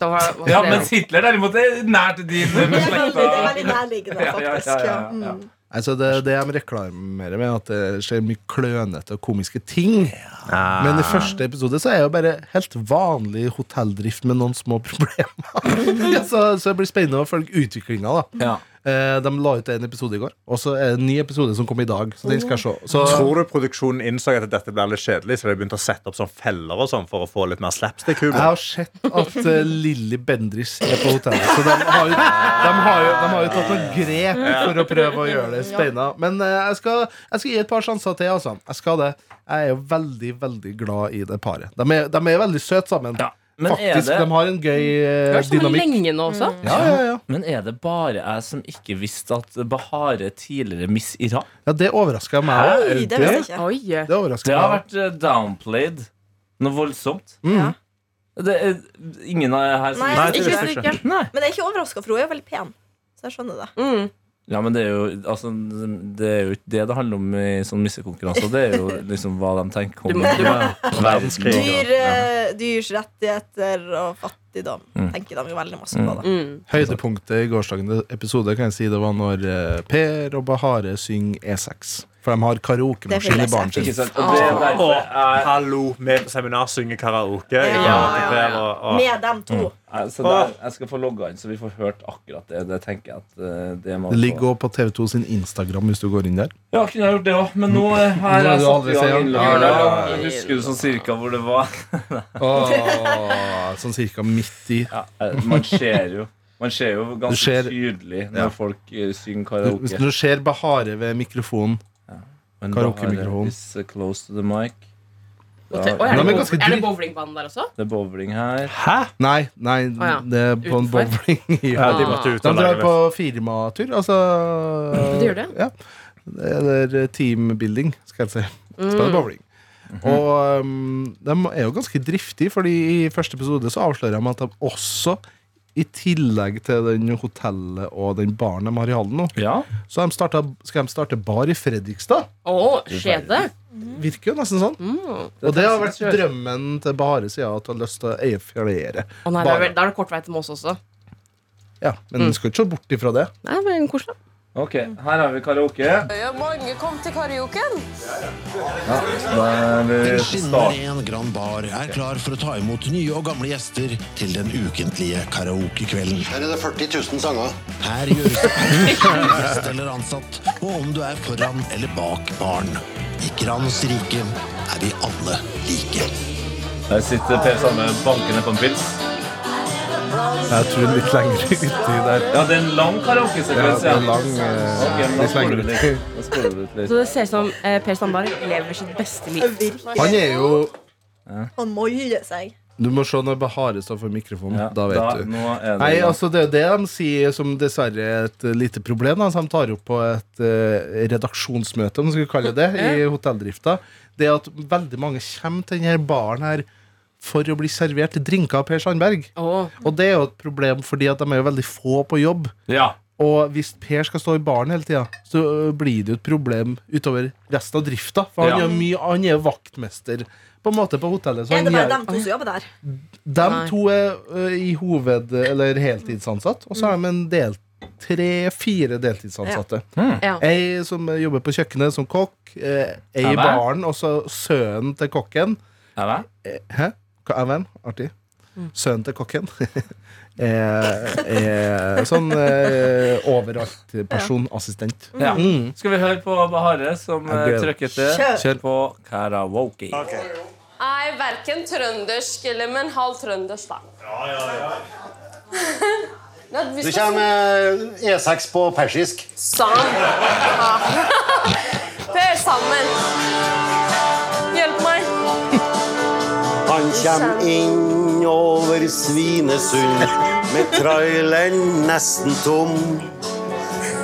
[SPEAKER 5] Da var, var
[SPEAKER 2] Ja,
[SPEAKER 5] det-
[SPEAKER 2] mens Hitler derimot er nært din
[SPEAKER 4] Det er veldig, det er
[SPEAKER 2] beslekta.
[SPEAKER 4] veldig nærliggende,
[SPEAKER 2] Ja, ja, ja,
[SPEAKER 4] faktisk. Ja,
[SPEAKER 2] ja, ja.
[SPEAKER 4] mm.
[SPEAKER 6] Altså det, det de reklamerer med, er at det skjer mye klønete og komiske ting. Men i første episode så er det jo bare helt vanlig hotelldrift med noen små problemer. så, så det blir spennende å følge utviklinga, da.
[SPEAKER 2] Ja.
[SPEAKER 6] Eh, de la ut en episode i går, og så er det en ny episode som kom i dag. Så den skal jeg se. Så,
[SPEAKER 3] Tror du produksjonen innså at dette ble litt kjedelig, så de begynte å sette opp sånn feller og sånn for å få litt mer
[SPEAKER 6] jeg
[SPEAKER 3] slapstick-humor?
[SPEAKER 6] har sett at eh, Lilly Bendriss er på hotellet, så de har jo, de har jo, de har jo tatt noen grep for å prøve å gjøre det spennende. Men eh, jeg, skal, jeg skal gi et par sjanser til, altså. Jeg skal det. Jeg er jo veldig, veldig glad i det paret. De er, de er veldig søte sammen.
[SPEAKER 2] Ja, men er
[SPEAKER 6] Faktisk,
[SPEAKER 2] det-
[SPEAKER 6] De har en gøy
[SPEAKER 5] Det
[SPEAKER 6] eh,
[SPEAKER 5] er sånn
[SPEAKER 6] dynamikk.
[SPEAKER 5] lenge nå
[SPEAKER 8] Mm.
[SPEAKER 5] også.
[SPEAKER 6] Ja, ja, ja.
[SPEAKER 2] Men er det bare jeg som ikke visste at Bahare tidligere Miss Iran?
[SPEAKER 6] ja, det overraska meg òg.
[SPEAKER 4] Oi, det visste jeg ikke.
[SPEAKER 5] Oi. eh.
[SPEAKER 6] Det overrasker
[SPEAKER 2] Det har
[SPEAKER 6] meg.
[SPEAKER 2] vært eh, downplayed noe voldsomt.
[SPEAKER 6] Mm.
[SPEAKER 2] Det er ingen av her som
[SPEAKER 4] Nei,
[SPEAKER 2] visste
[SPEAKER 4] jeg
[SPEAKER 2] det.
[SPEAKER 4] synes
[SPEAKER 5] Ikke
[SPEAKER 3] ikke.
[SPEAKER 5] ikke.
[SPEAKER 2] Nei.
[SPEAKER 4] Men jeg er ikke overraska, for hun er jo veldig pen. Så jeg skjønner det.
[SPEAKER 5] Mm.
[SPEAKER 2] Ja, men det er jo altså, Det er jo ikke det det handler om i sånn missekonkurranser. Det er jo liksom hva de tenker om
[SPEAKER 5] Du må- du
[SPEAKER 2] verdenskrig.
[SPEAKER 4] Dyr, eh, dyrs rettigheter og fattigdom
[SPEAKER 2] Mm.
[SPEAKER 4] tenker de jo veldig masse
[SPEAKER 2] Mm.
[SPEAKER 4] på. da
[SPEAKER 5] Mm.
[SPEAKER 6] Høydepunktet i gårsdagens episode kan jeg si det var når eh, Per og Bahare synger E6. For de har
[SPEAKER 4] Det
[SPEAKER 6] karaokemaskin
[SPEAKER 4] vil
[SPEAKER 6] i
[SPEAKER 4] jeg
[SPEAKER 6] baren
[SPEAKER 2] Ikke
[SPEAKER 6] sin.
[SPEAKER 2] sant? Og det er derfor jeg,
[SPEAKER 3] Hallo, vi på seminar synger karaoke. Ja,
[SPEAKER 5] ja, ja, ja.
[SPEAKER 3] Og, og,
[SPEAKER 4] Med dem to.
[SPEAKER 2] jeg, så der, jeg skal få logga inn, så vi får hørt akkurat det. Det tenker jeg at eh, det må
[SPEAKER 6] Det ligger også på TV2 sin Instagram hvis du går inn der.
[SPEAKER 2] Ja, kunne jeg gjort det òg, men nå eh,
[SPEAKER 6] Nå
[SPEAKER 2] her
[SPEAKER 6] er
[SPEAKER 2] er jeg satt
[SPEAKER 6] du
[SPEAKER 2] i
[SPEAKER 6] aldri
[SPEAKER 2] gang
[SPEAKER 6] sen.
[SPEAKER 2] innloggen.
[SPEAKER 6] Ja,
[SPEAKER 2] Ja,
[SPEAKER 6] ja,
[SPEAKER 5] ja.
[SPEAKER 2] Husker du sånn cirka hvor det var?
[SPEAKER 6] Åh, sånn cirka midt i.
[SPEAKER 2] Ja, eh, man ser jo Man ser jo ganske
[SPEAKER 6] ser-
[SPEAKER 2] tydelig når
[SPEAKER 6] Ja.
[SPEAKER 2] folk eh, synger
[SPEAKER 6] Hvis
[SPEAKER 2] karaoke.
[SPEAKER 6] du ser Bahare ved mikrofonen
[SPEAKER 2] Men
[SPEAKER 6] Karaokemikrofon.
[SPEAKER 2] bare is, eh, Close to the mic. Da,
[SPEAKER 5] Og te- Oi, er,
[SPEAKER 6] Nei,
[SPEAKER 5] det
[SPEAKER 6] men
[SPEAKER 5] bow-
[SPEAKER 6] ganske
[SPEAKER 5] er det
[SPEAKER 6] dyrt.
[SPEAKER 5] bowlingbane der også?
[SPEAKER 2] det er bowling her.
[SPEAKER 3] hæ?
[SPEAKER 6] Nei, nei,
[SPEAKER 5] ja.
[SPEAKER 6] det er på en
[SPEAKER 5] Utenfor.
[SPEAKER 6] bowling. i-
[SPEAKER 3] Ja, de måtte ut
[SPEAKER 6] De
[SPEAKER 3] og
[SPEAKER 6] drar
[SPEAKER 3] lage
[SPEAKER 6] på firmatur, altså.
[SPEAKER 5] De gjør det?
[SPEAKER 6] Ja. Eller teambuilding, eh, skal jeg si.
[SPEAKER 5] Mm.
[SPEAKER 6] Spiller bowling. Og um, de er jo ganske driftige, Fordi i første episode så avslører de at de også, i tillegg til den hotellet og den baren de har i Halden nå,
[SPEAKER 2] Ja.
[SPEAKER 6] så har de startet, skal de starte bar i Fredrikstad.
[SPEAKER 5] Å, skjede!
[SPEAKER 6] Virker jo nesten sånn.
[SPEAKER 5] Mm.
[SPEAKER 6] Og det har vært drømmen til Bahare siden at du har lyst til å eie flere.
[SPEAKER 5] Å nei, da er,
[SPEAKER 6] Bare.
[SPEAKER 5] vel- da er det kort vei til Mås også.
[SPEAKER 6] Ja, men du skal ikke se bort ifra det.
[SPEAKER 5] Nei, men koselig.
[SPEAKER 2] Ok, her har vi karaoke.
[SPEAKER 8] Ja, mange kom til karaoken.
[SPEAKER 2] Da er vi start.
[SPEAKER 10] Skinneren 1 Grand Bar er klar for å ta imot nye og gamle gjester til den ukentlige karaokekvelden.
[SPEAKER 11] Her er det 40 000 sanger.
[SPEAKER 10] Her gjøres det alt for gjest eller ansatt, og om du er foran eller bak baren. I Grans rike er vi alle like.
[SPEAKER 2] Der sitter Per Sandø bankende på en pils.
[SPEAKER 6] Jeg tror litt lenger uti der.
[SPEAKER 2] Ja, det er en lang
[SPEAKER 6] Ja,
[SPEAKER 2] karaokesekvens.
[SPEAKER 6] det er lang, eh,
[SPEAKER 2] Ok, men da
[SPEAKER 6] litt
[SPEAKER 2] spoler
[SPEAKER 6] lenger
[SPEAKER 2] vi
[SPEAKER 6] ut.
[SPEAKER 2] litt. Da spoler vi litt.
[SPEAKER 5] Så det ser ut som eh, Per Sandberg lever sitt beste liv.
[SPEAKER 6] Han er jo
[SPEAKER 4] Han moier seg.
[SPEAKER 6] Du må se når Bahare står for mikrofonen.
[SPEAKER 2] Ja,
[SPEAKER 6] da vet du.
[SPEAKER 2] Nå er det
[SPEAKER 6] Nei, altså Det er det de sier som dessverre er et eh, lite problem. Da, som de tar opp på et eh, redaksjonsmøte, om vi skal kalle det, i hotelldrifta. Det er at veldig mange kommer til denne baren her for å bli servert drinker av Per Sandberg.
[SPEAKER 5] Å,
[SPEAKER 6] Og det er jo et problem fordi at de er jo veldig få på jobb.
[SPEAKER 2] ja.
[SPEAKER 6] Og hvis Per skal stå i baren hele tida, så øh, blir det jo et problem utover resten av drifta. For han,
[SPEAKER 2] Ja.
[SPEAKER 6] er jo mye, han er jo vaktmester på en måte på hotellet. Så
[SPEAKER 4] Er
[SPEAKER 6] han
[SPEAKER 4] det bare
[SPEAKER 6] gjør,
[SPEAKER 4] dem to som jobber der?
[SPEAKER 6] de
[SPEAKER 5] Nei.
[SPEAKER 6] to er øh, i hoved- eller heltidsansatt, og så har de en del tre-fire deltidsansatte.
[SPEAKER 5] ja.
[SPEAKER 6] Ei som øh, jobber på kjøkkenet som kokk, eh, ei
[SPEAKER 2] Ja, vel.
[SPEAKER 6] i baren, og så sønnen til kokken.
[SPEAKER 2] Er det?
[SPEAKER 6] Eh, Hæ? Hva er hvem? Artig.
[SPEAKER 5] Hmm.
[SPEAKER 6] Sønnen til kokken. eh, eh, sånn eh, overalt-person. Assistent.
[SPEAKER 2] Ja.
[SPEAKER 6] Mm.
[SPEAKER 2] Skal vi høre på Bahare som eh,
[SPEAKER 6] gleder-
[SPEAKER 2] trykket det
[SPEAKER 4] Kjør!
[SPEAKER 6] Kjør.
[SPEAKER 2] på karaoke?
[SPEAKER 8] Jeg er verken trøndersk eller men halv trøndersk, da. Ja, ja,
[SPEAKER 11] Det
[SPEAKER 8] ja.
[SPEAKER 11] kommer E6 Eh, E på persisk.
[SPEAKER 8] Det er sammen. Hjelp meg.
[SPEAKER 11] Han kjem inn over Svinesund med traileren nesten tom.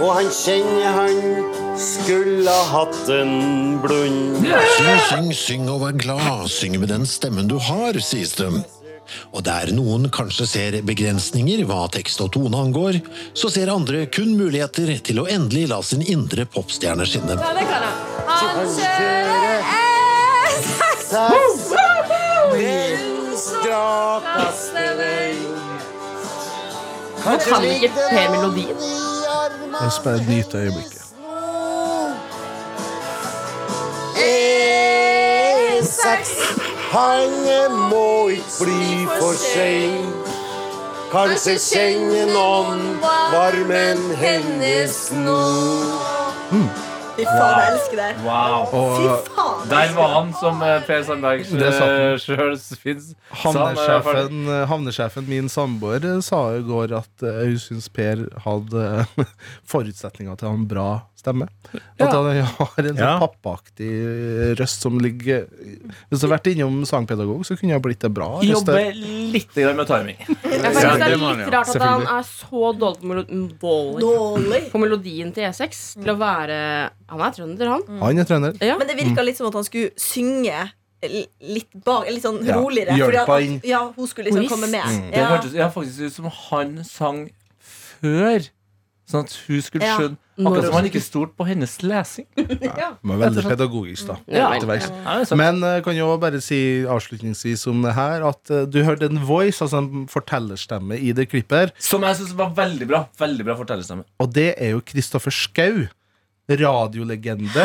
[SPEAKER 11] Og han kjenner han skulle hatt en blund.
[SPEAKER 10] Syng, syng, syng og vær glad. Syng med den stemmen du har, sies det. Og der noen kanskje ser begrensninger hva tekst og tone angår, så ser andre kun muligheter til å endelig la sin indre popstjerne skinne.
[SPEAKER 8] Ja, det kan jeg. Han kjører E6
[SPEAKER 11] Den skrapaste vei
[SPEAKER 5] Han kan ikke Per melodien.
[SPEAKER 11] i arma
[SPEAKER 6] La oss bare nyte øyeblikket.
[SPEAKER 11] E6 Han må ikke bli for sein Kanskje kjenne noen varmen hennes nå.
[SPEAKER 4] Fy faen, jeg elsker det.
[SPEAKER 2] Wow.
[SPEAKER 4] Fy faen.
[SPEAKER 2] Der var han som eh, Per Sandberg
[SPEAKER 6] Det satt den.
[SPEAKER 2] sjøl fins. eh,
[SPEAKER 6] Havnesjefen, eh, havnesjefen min samboer eh, sa i går at eh, hun syns Per hadde eh, forutsetninger til å ha en bra stemme. At han har en sånn
[SPEAKER 3] Ja.
[SPEAKER 6] pappaaktig eh, røst som ligger eh, Hvis du har vært innom sangpedagog, så kunne jeg blitt det bra.
[SPEAKER 2] Jobber litt grann med timing.
[SPEAKER 5] Jeg synes
[SPEAKER 6] Ja,
[SPEAKER 5] det
[SPEAKER 6] det
[SPEAKER 5] er
[SPEAKER 6] må han,
[SPEAKER 5] litt
[SPEAKER 6] ja.
[SPEAKER 5] rart at han
[SPEAKER 6] Selvfølgelig.
[SPEAKER 5] er så dårlig på, melo dårlig. på melodien til E6 til å være Han er trønder, han.
[SPEAKER 6] Han er trønder.
[SPEAKER 5] Mm. Ja.
[SPEAKER 4] Men det
[SPEAKER 2] Mm.
[SPEAKER 4] virka litt som at han skulle synge l- litt bak, litt sånn
[SPEAKER 2] Ja,
[SPEAKER 4] roligere.
[SPEAKER 2] hjelpa
[SPEAKER 4] fordi at han-
[SPEAKER 2] inn. Mm.
[SPEAKER 4] Ja, hun skulle liksom
[SPEAKER 5] Whist.
[SPEAKER 4] komme med.
[SPEAKER 2] Det
[SPEAKER 4] Ja.
[SPEAKER 2] hørtes ja, faktisk ut som han sang før. Sånn at hun skulle
[SPEAKER 4] Ja.
[SPEAKER 2] skjønne.
[SPEAKER 4] Når
[SPEAKER 2] Akkurat som
[SPEAKER 4] hun
[SPEAKER 2] han ikke stolte på hennes lesing.
[SPEAKER 6] Men veldig pedagogisk, da.
[SPEAKER 2] Ja.
[SPEAKER 6] Etter hvert.
[SPEAKER 2] Ja, det er sant.
[SPEAKER 6] Men eh, kan jeg også bare si avslutningsvis om det her at eh, du hørte en voice, altså en fortellerstemme, i det klippet her.
[SPEAKER 2] Som jeg syns var veldig bra. Veldig bra fortellerstemme.
[SPEAKER 6] Og det er jo Kristoffer Skau. Radiolegende.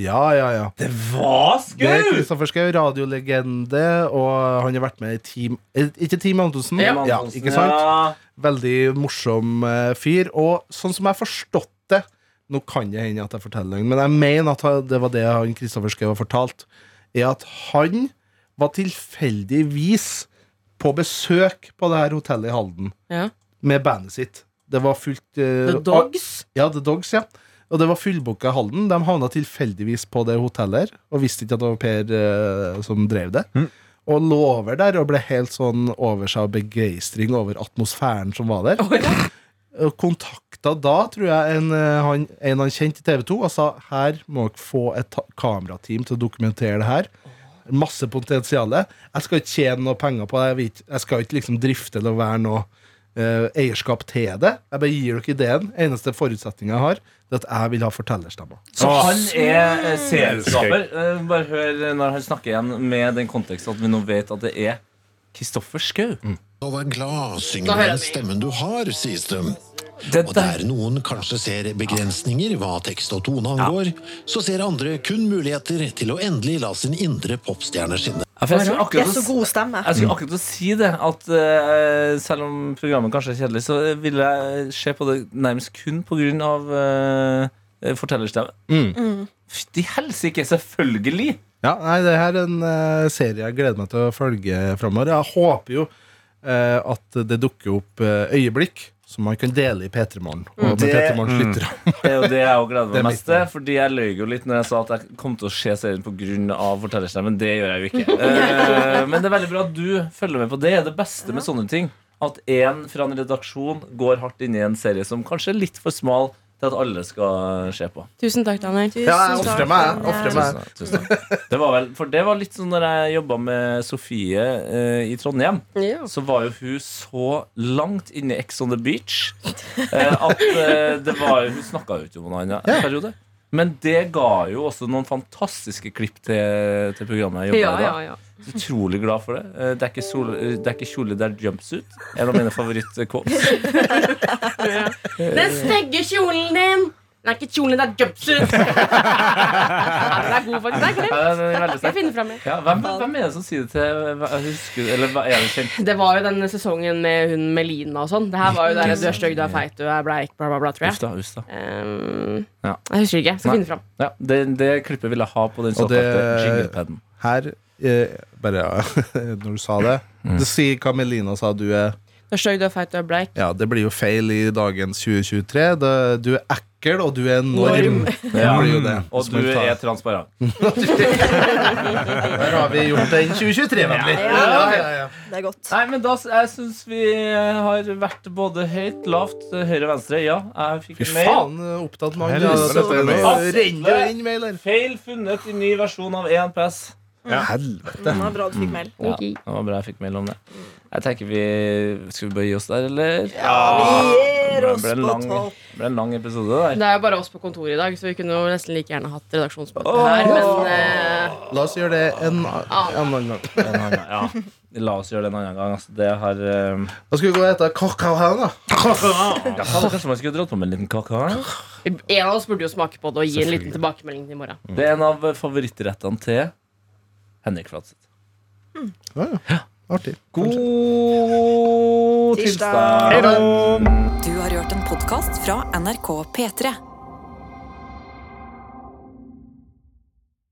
[SPEAKER 6] Ja, ja, ja.
[SPEAKER 2] Det var Skau!
[SPEAKER 6] Det er Kristoffer Schau, radiolegende, og han har vært med i Team eh, Ikke Team Antonsen?
[SPEAKER 2] Ja.
[SPEAKER 6] Ja, ikke sant?
[SPEAKER 2] Ja.
[SPEAKER 6] Veldig morsom eh, fyr. Og sånn som jeg har forstått det Nå kan det hende at jeg forteller løgn, men jeg mener at han- det var det han Kristoffer Schau har fortalt, er at han var tilfeldigvis på besøk på det her hotellet i Halden
[SPEAKER 5] Ja.
[SPEAKER 6] med bandet sitt. Det var fullt eh,
[SPEAKER 5] The Dogs?
[SPEAKER 6] Ja, The Dogs, ja. Og det var fullbooka Halden. De havna tilfeldigvis på det hotellet her, og visste ikke at det var Per eh, som drev det. Og lå over der og ble helt sånn over seg av begeistring over atmosfæren som var der. Og Kontakta eh, da, tror jeg, en eh, han, en han kjente i TV 2 og sa her må dere få et ta- kamerateam til å dokumentere det her. Masse potensial. Jeg skal ikke tjene noe penger på det. Jeg, vet, jeg skal ikke liksom drifte eller være noe eh, eierskap til det. Jeg bare gir dere ideen. Eneste forutsetninga jeg har, det er at jeg vil ha fortellerstemmer.
[SPEAKER 2] Så han er eh, serieskaper. Eh, Bare hør når han snakker igjen med den konteksten at vi nå vet at det er Kristoffer Schau.
[SPEAKER 10] Å være glad
[SPEAKER 2] Da
[SPEAKER 10] synger
[SPEAKER 2] hører
[SPEAKER 10] med den
[SPEAKER 2] jeg
[SPEAKER 10] stemmen du har, sies det. Og der noen kanskje ser begrensninger hva tekst og tone angår, så ser andre kun muligheter til å endelig la sin indre popstjerne skinne.
[SPEAKER 2] Ja, for jeg skulle
[SPEAKER 4] Det er
[SPEAKER 2] akkurat
[SPEAKER 4] så
[SPEAKER 2] å s-
[SPEAKER 4] god stemme.
[SPEAKER 2] Jeg skulle akkurat å si det, at eh, selv om programmet kanskje er kjedelig, så vil jeg se på det nærmest kun pga. Uh, fortellerstemme.
[SPEAKER 6] Mm.
[SPEAKER 2] Fytti helsike, selvfølgelig!
[SPEAKER 6] Ja, nei, det her er en eh, serie jeg gleder meg til å følge framover. Jeg håper jo eh, at det dukker opp eh, øyeblikk som man kan dele i P3 Morgen. Og med
[SPEAKER 2] Det-
[SPEAKER 6] P3 Morgens
[SPEAKER 2] Mm.
[SPEAKER 6] lyttere.
[SPEAKER 2] Det er jo det jeg også gleder meg
[SPEAKER 6] Det er
[SPEAKER 2] mest til. Fordi jeg løy jo litt når jeg sa at jeg kom til å se serien pga. fortellerstemmen. Det gjør jeg jo ikke. Eh, men det er veldig bra at du følger med på det. Det er det beste med sånne ting. At én fra en redaksjon går hardt inn i en serie som kanskje er litt for smal til at alle skal se på.
[SPEAKER 5] Tusen takk, Daniel.
[SPEAKER 6] Ja, jeg ofrer takk, meg, jeg. Daniel. Ofrer meg.
[SPEAKER 2] Tusen takk, tusen takk. Det var vel, for det var litt sånn når jeg jobba med Sofie eh, i Trondheim, så var jo hun så langt inne i Ex on the Beach eh, at eh, det var, hun snakka jo ikke om noe annet en periode. Men det ga jo også noen fantastiske klipp til, til programmet. jeg
[SPEAKER 5] Ja,
[SPEAKER 2] jobbet i da.
[SPEAKER 5] ja, ja.
[SPEAKER 2] Så Utrolig glad for det. Eh, Det er ikke, sol, eh, det er ikke kjole, det er jumpsuit. En av mine eh, favorittkåps.
[SPEAKER 5] Den stygge kjolen din! Den er ikke kjolen, det er jumpsuit! ja, den er god, faktisk. Den er ikke
[SPEAKER 2] Ja, den er veldig
[SPEAKER 5] det. Skal jeg finne frem mer.
[SPEAKER 2] Ja, hvem, hvem er det som sier det til hva- husker, Eller hva er det kjent?
[SPEAKER 5] Det var jo den sesongen med hun Melina og sånn. Det her var jo der du er stygg, du er feit, du er bleik, bla, bla, bla, tror
[SPEAKER 2] Uff
[SPEAKER 5] jeg.
[SPEAKER 2] da, uff da.
[SPEAKER 5] Um,
[SPEAKER 2] Ja.
[SPEAKER 5] Jeg husker ikke. Jeg skal
[SPEAKER 2] Nei.
[SPEAKER 5] finne fram.
[SPEAKER 2] Ja, det, det klippet vil jeg ha på den
[SPEAKER 6] Og det
[SPEAKER 2] såkalte jinglepaden.
[SPEAKER 6] her eh, Bare når du sa det Det sier hva Melina sa du er
[SPEAKER 5] Du er stygg, du er feit, du er bleik.
[SPEAKER 6] Ja, det blir jo feil i dagens 2023. Det, du er ekkel, og du er enorm.
[SPEAKER 5] Norm.
[SPEAKER 6] Det blir jo det.
[SPEAKER 2] Og
[SPEAKER 6] Så
[SPEAKER 2] du
[SPEAKER 6] må vi ta-
[SPEAKER 2] er transparent.
[SPEAKER 6] Der har vi gjort den 2023-vennlig.
[SPEAKER 4] Det er godt.
[SPEAKER 2] Nei, men da, s- Jeg syns vi har vært både høyt, lavt, høyre, venstre. Ja, jeg fikk
[SPEAKER 6] Fy
[SPEAKER 2] en mail.
[SPEAKER 6] faen, opptatt med han.
[SPEAKER 2] Helvete,
[SPEAKER 6] Ja,
[SPEAKER 2] det
[SPEAKER 6] nå
[SPEAKER 2] er
[SPEAKER 6] renner det inn.
[SPEAKER 2] Feil funnet i ny versjon av E ENPS.
[SPEAKER 6] Helvete.
[SPEAKER 4] Det var bra du fikk mail.
[SPEAKER 2] Ja, det var bra jeg fikk mail om det. Jeg tenker vi Skal vi bare gi oss der, eller?
[SPEAKER 5] vi gir
[SPEAKER 2] Det
[SPEAKER 5] oss
[SPEAKER 2] Ah, ble en
[SPEAKER 5] på
[SPEAKER 2] lang-
[SPEAKER 5] topp.
[SPEAKER 2] Det ble en lang episode der.
[SPEAKER 5] Det er jo bare oss på kontoret i dag, så vi kunne jo nesten like gjerne hatt redaksjonsmøte her. Men eh,
[SPEAKER 6] La oss gjøre det en en annen gang.
[SPEAKER 2] En annen gang, ja. La oss gjøre det en annen gang. Altså, det har eh,
[SPEAKER 6] Da skal vi gå og hete kakao her, da.
[SPEAKER 2] ja, faen, Kanskje man skulle dratt på med en liten kakao?
[SPEAKER 5] en av oss burde jo smake på det og gi en liten
[SPEAKER 2] Selvfølgelig.
[SPEAKER 5] tilbakemelding til i
[SPEAKER 6] Mm.
[SPEAKER 5] morgen.
[SPEAKER 2] Det er en av favorittrettene til Henrik Fladseth.
[SPEAKER 6] Artig.
[SPEAKER 2] God god tirsdag.
[SPEAKER 1] Du har hørt en podkast fra NRK P3.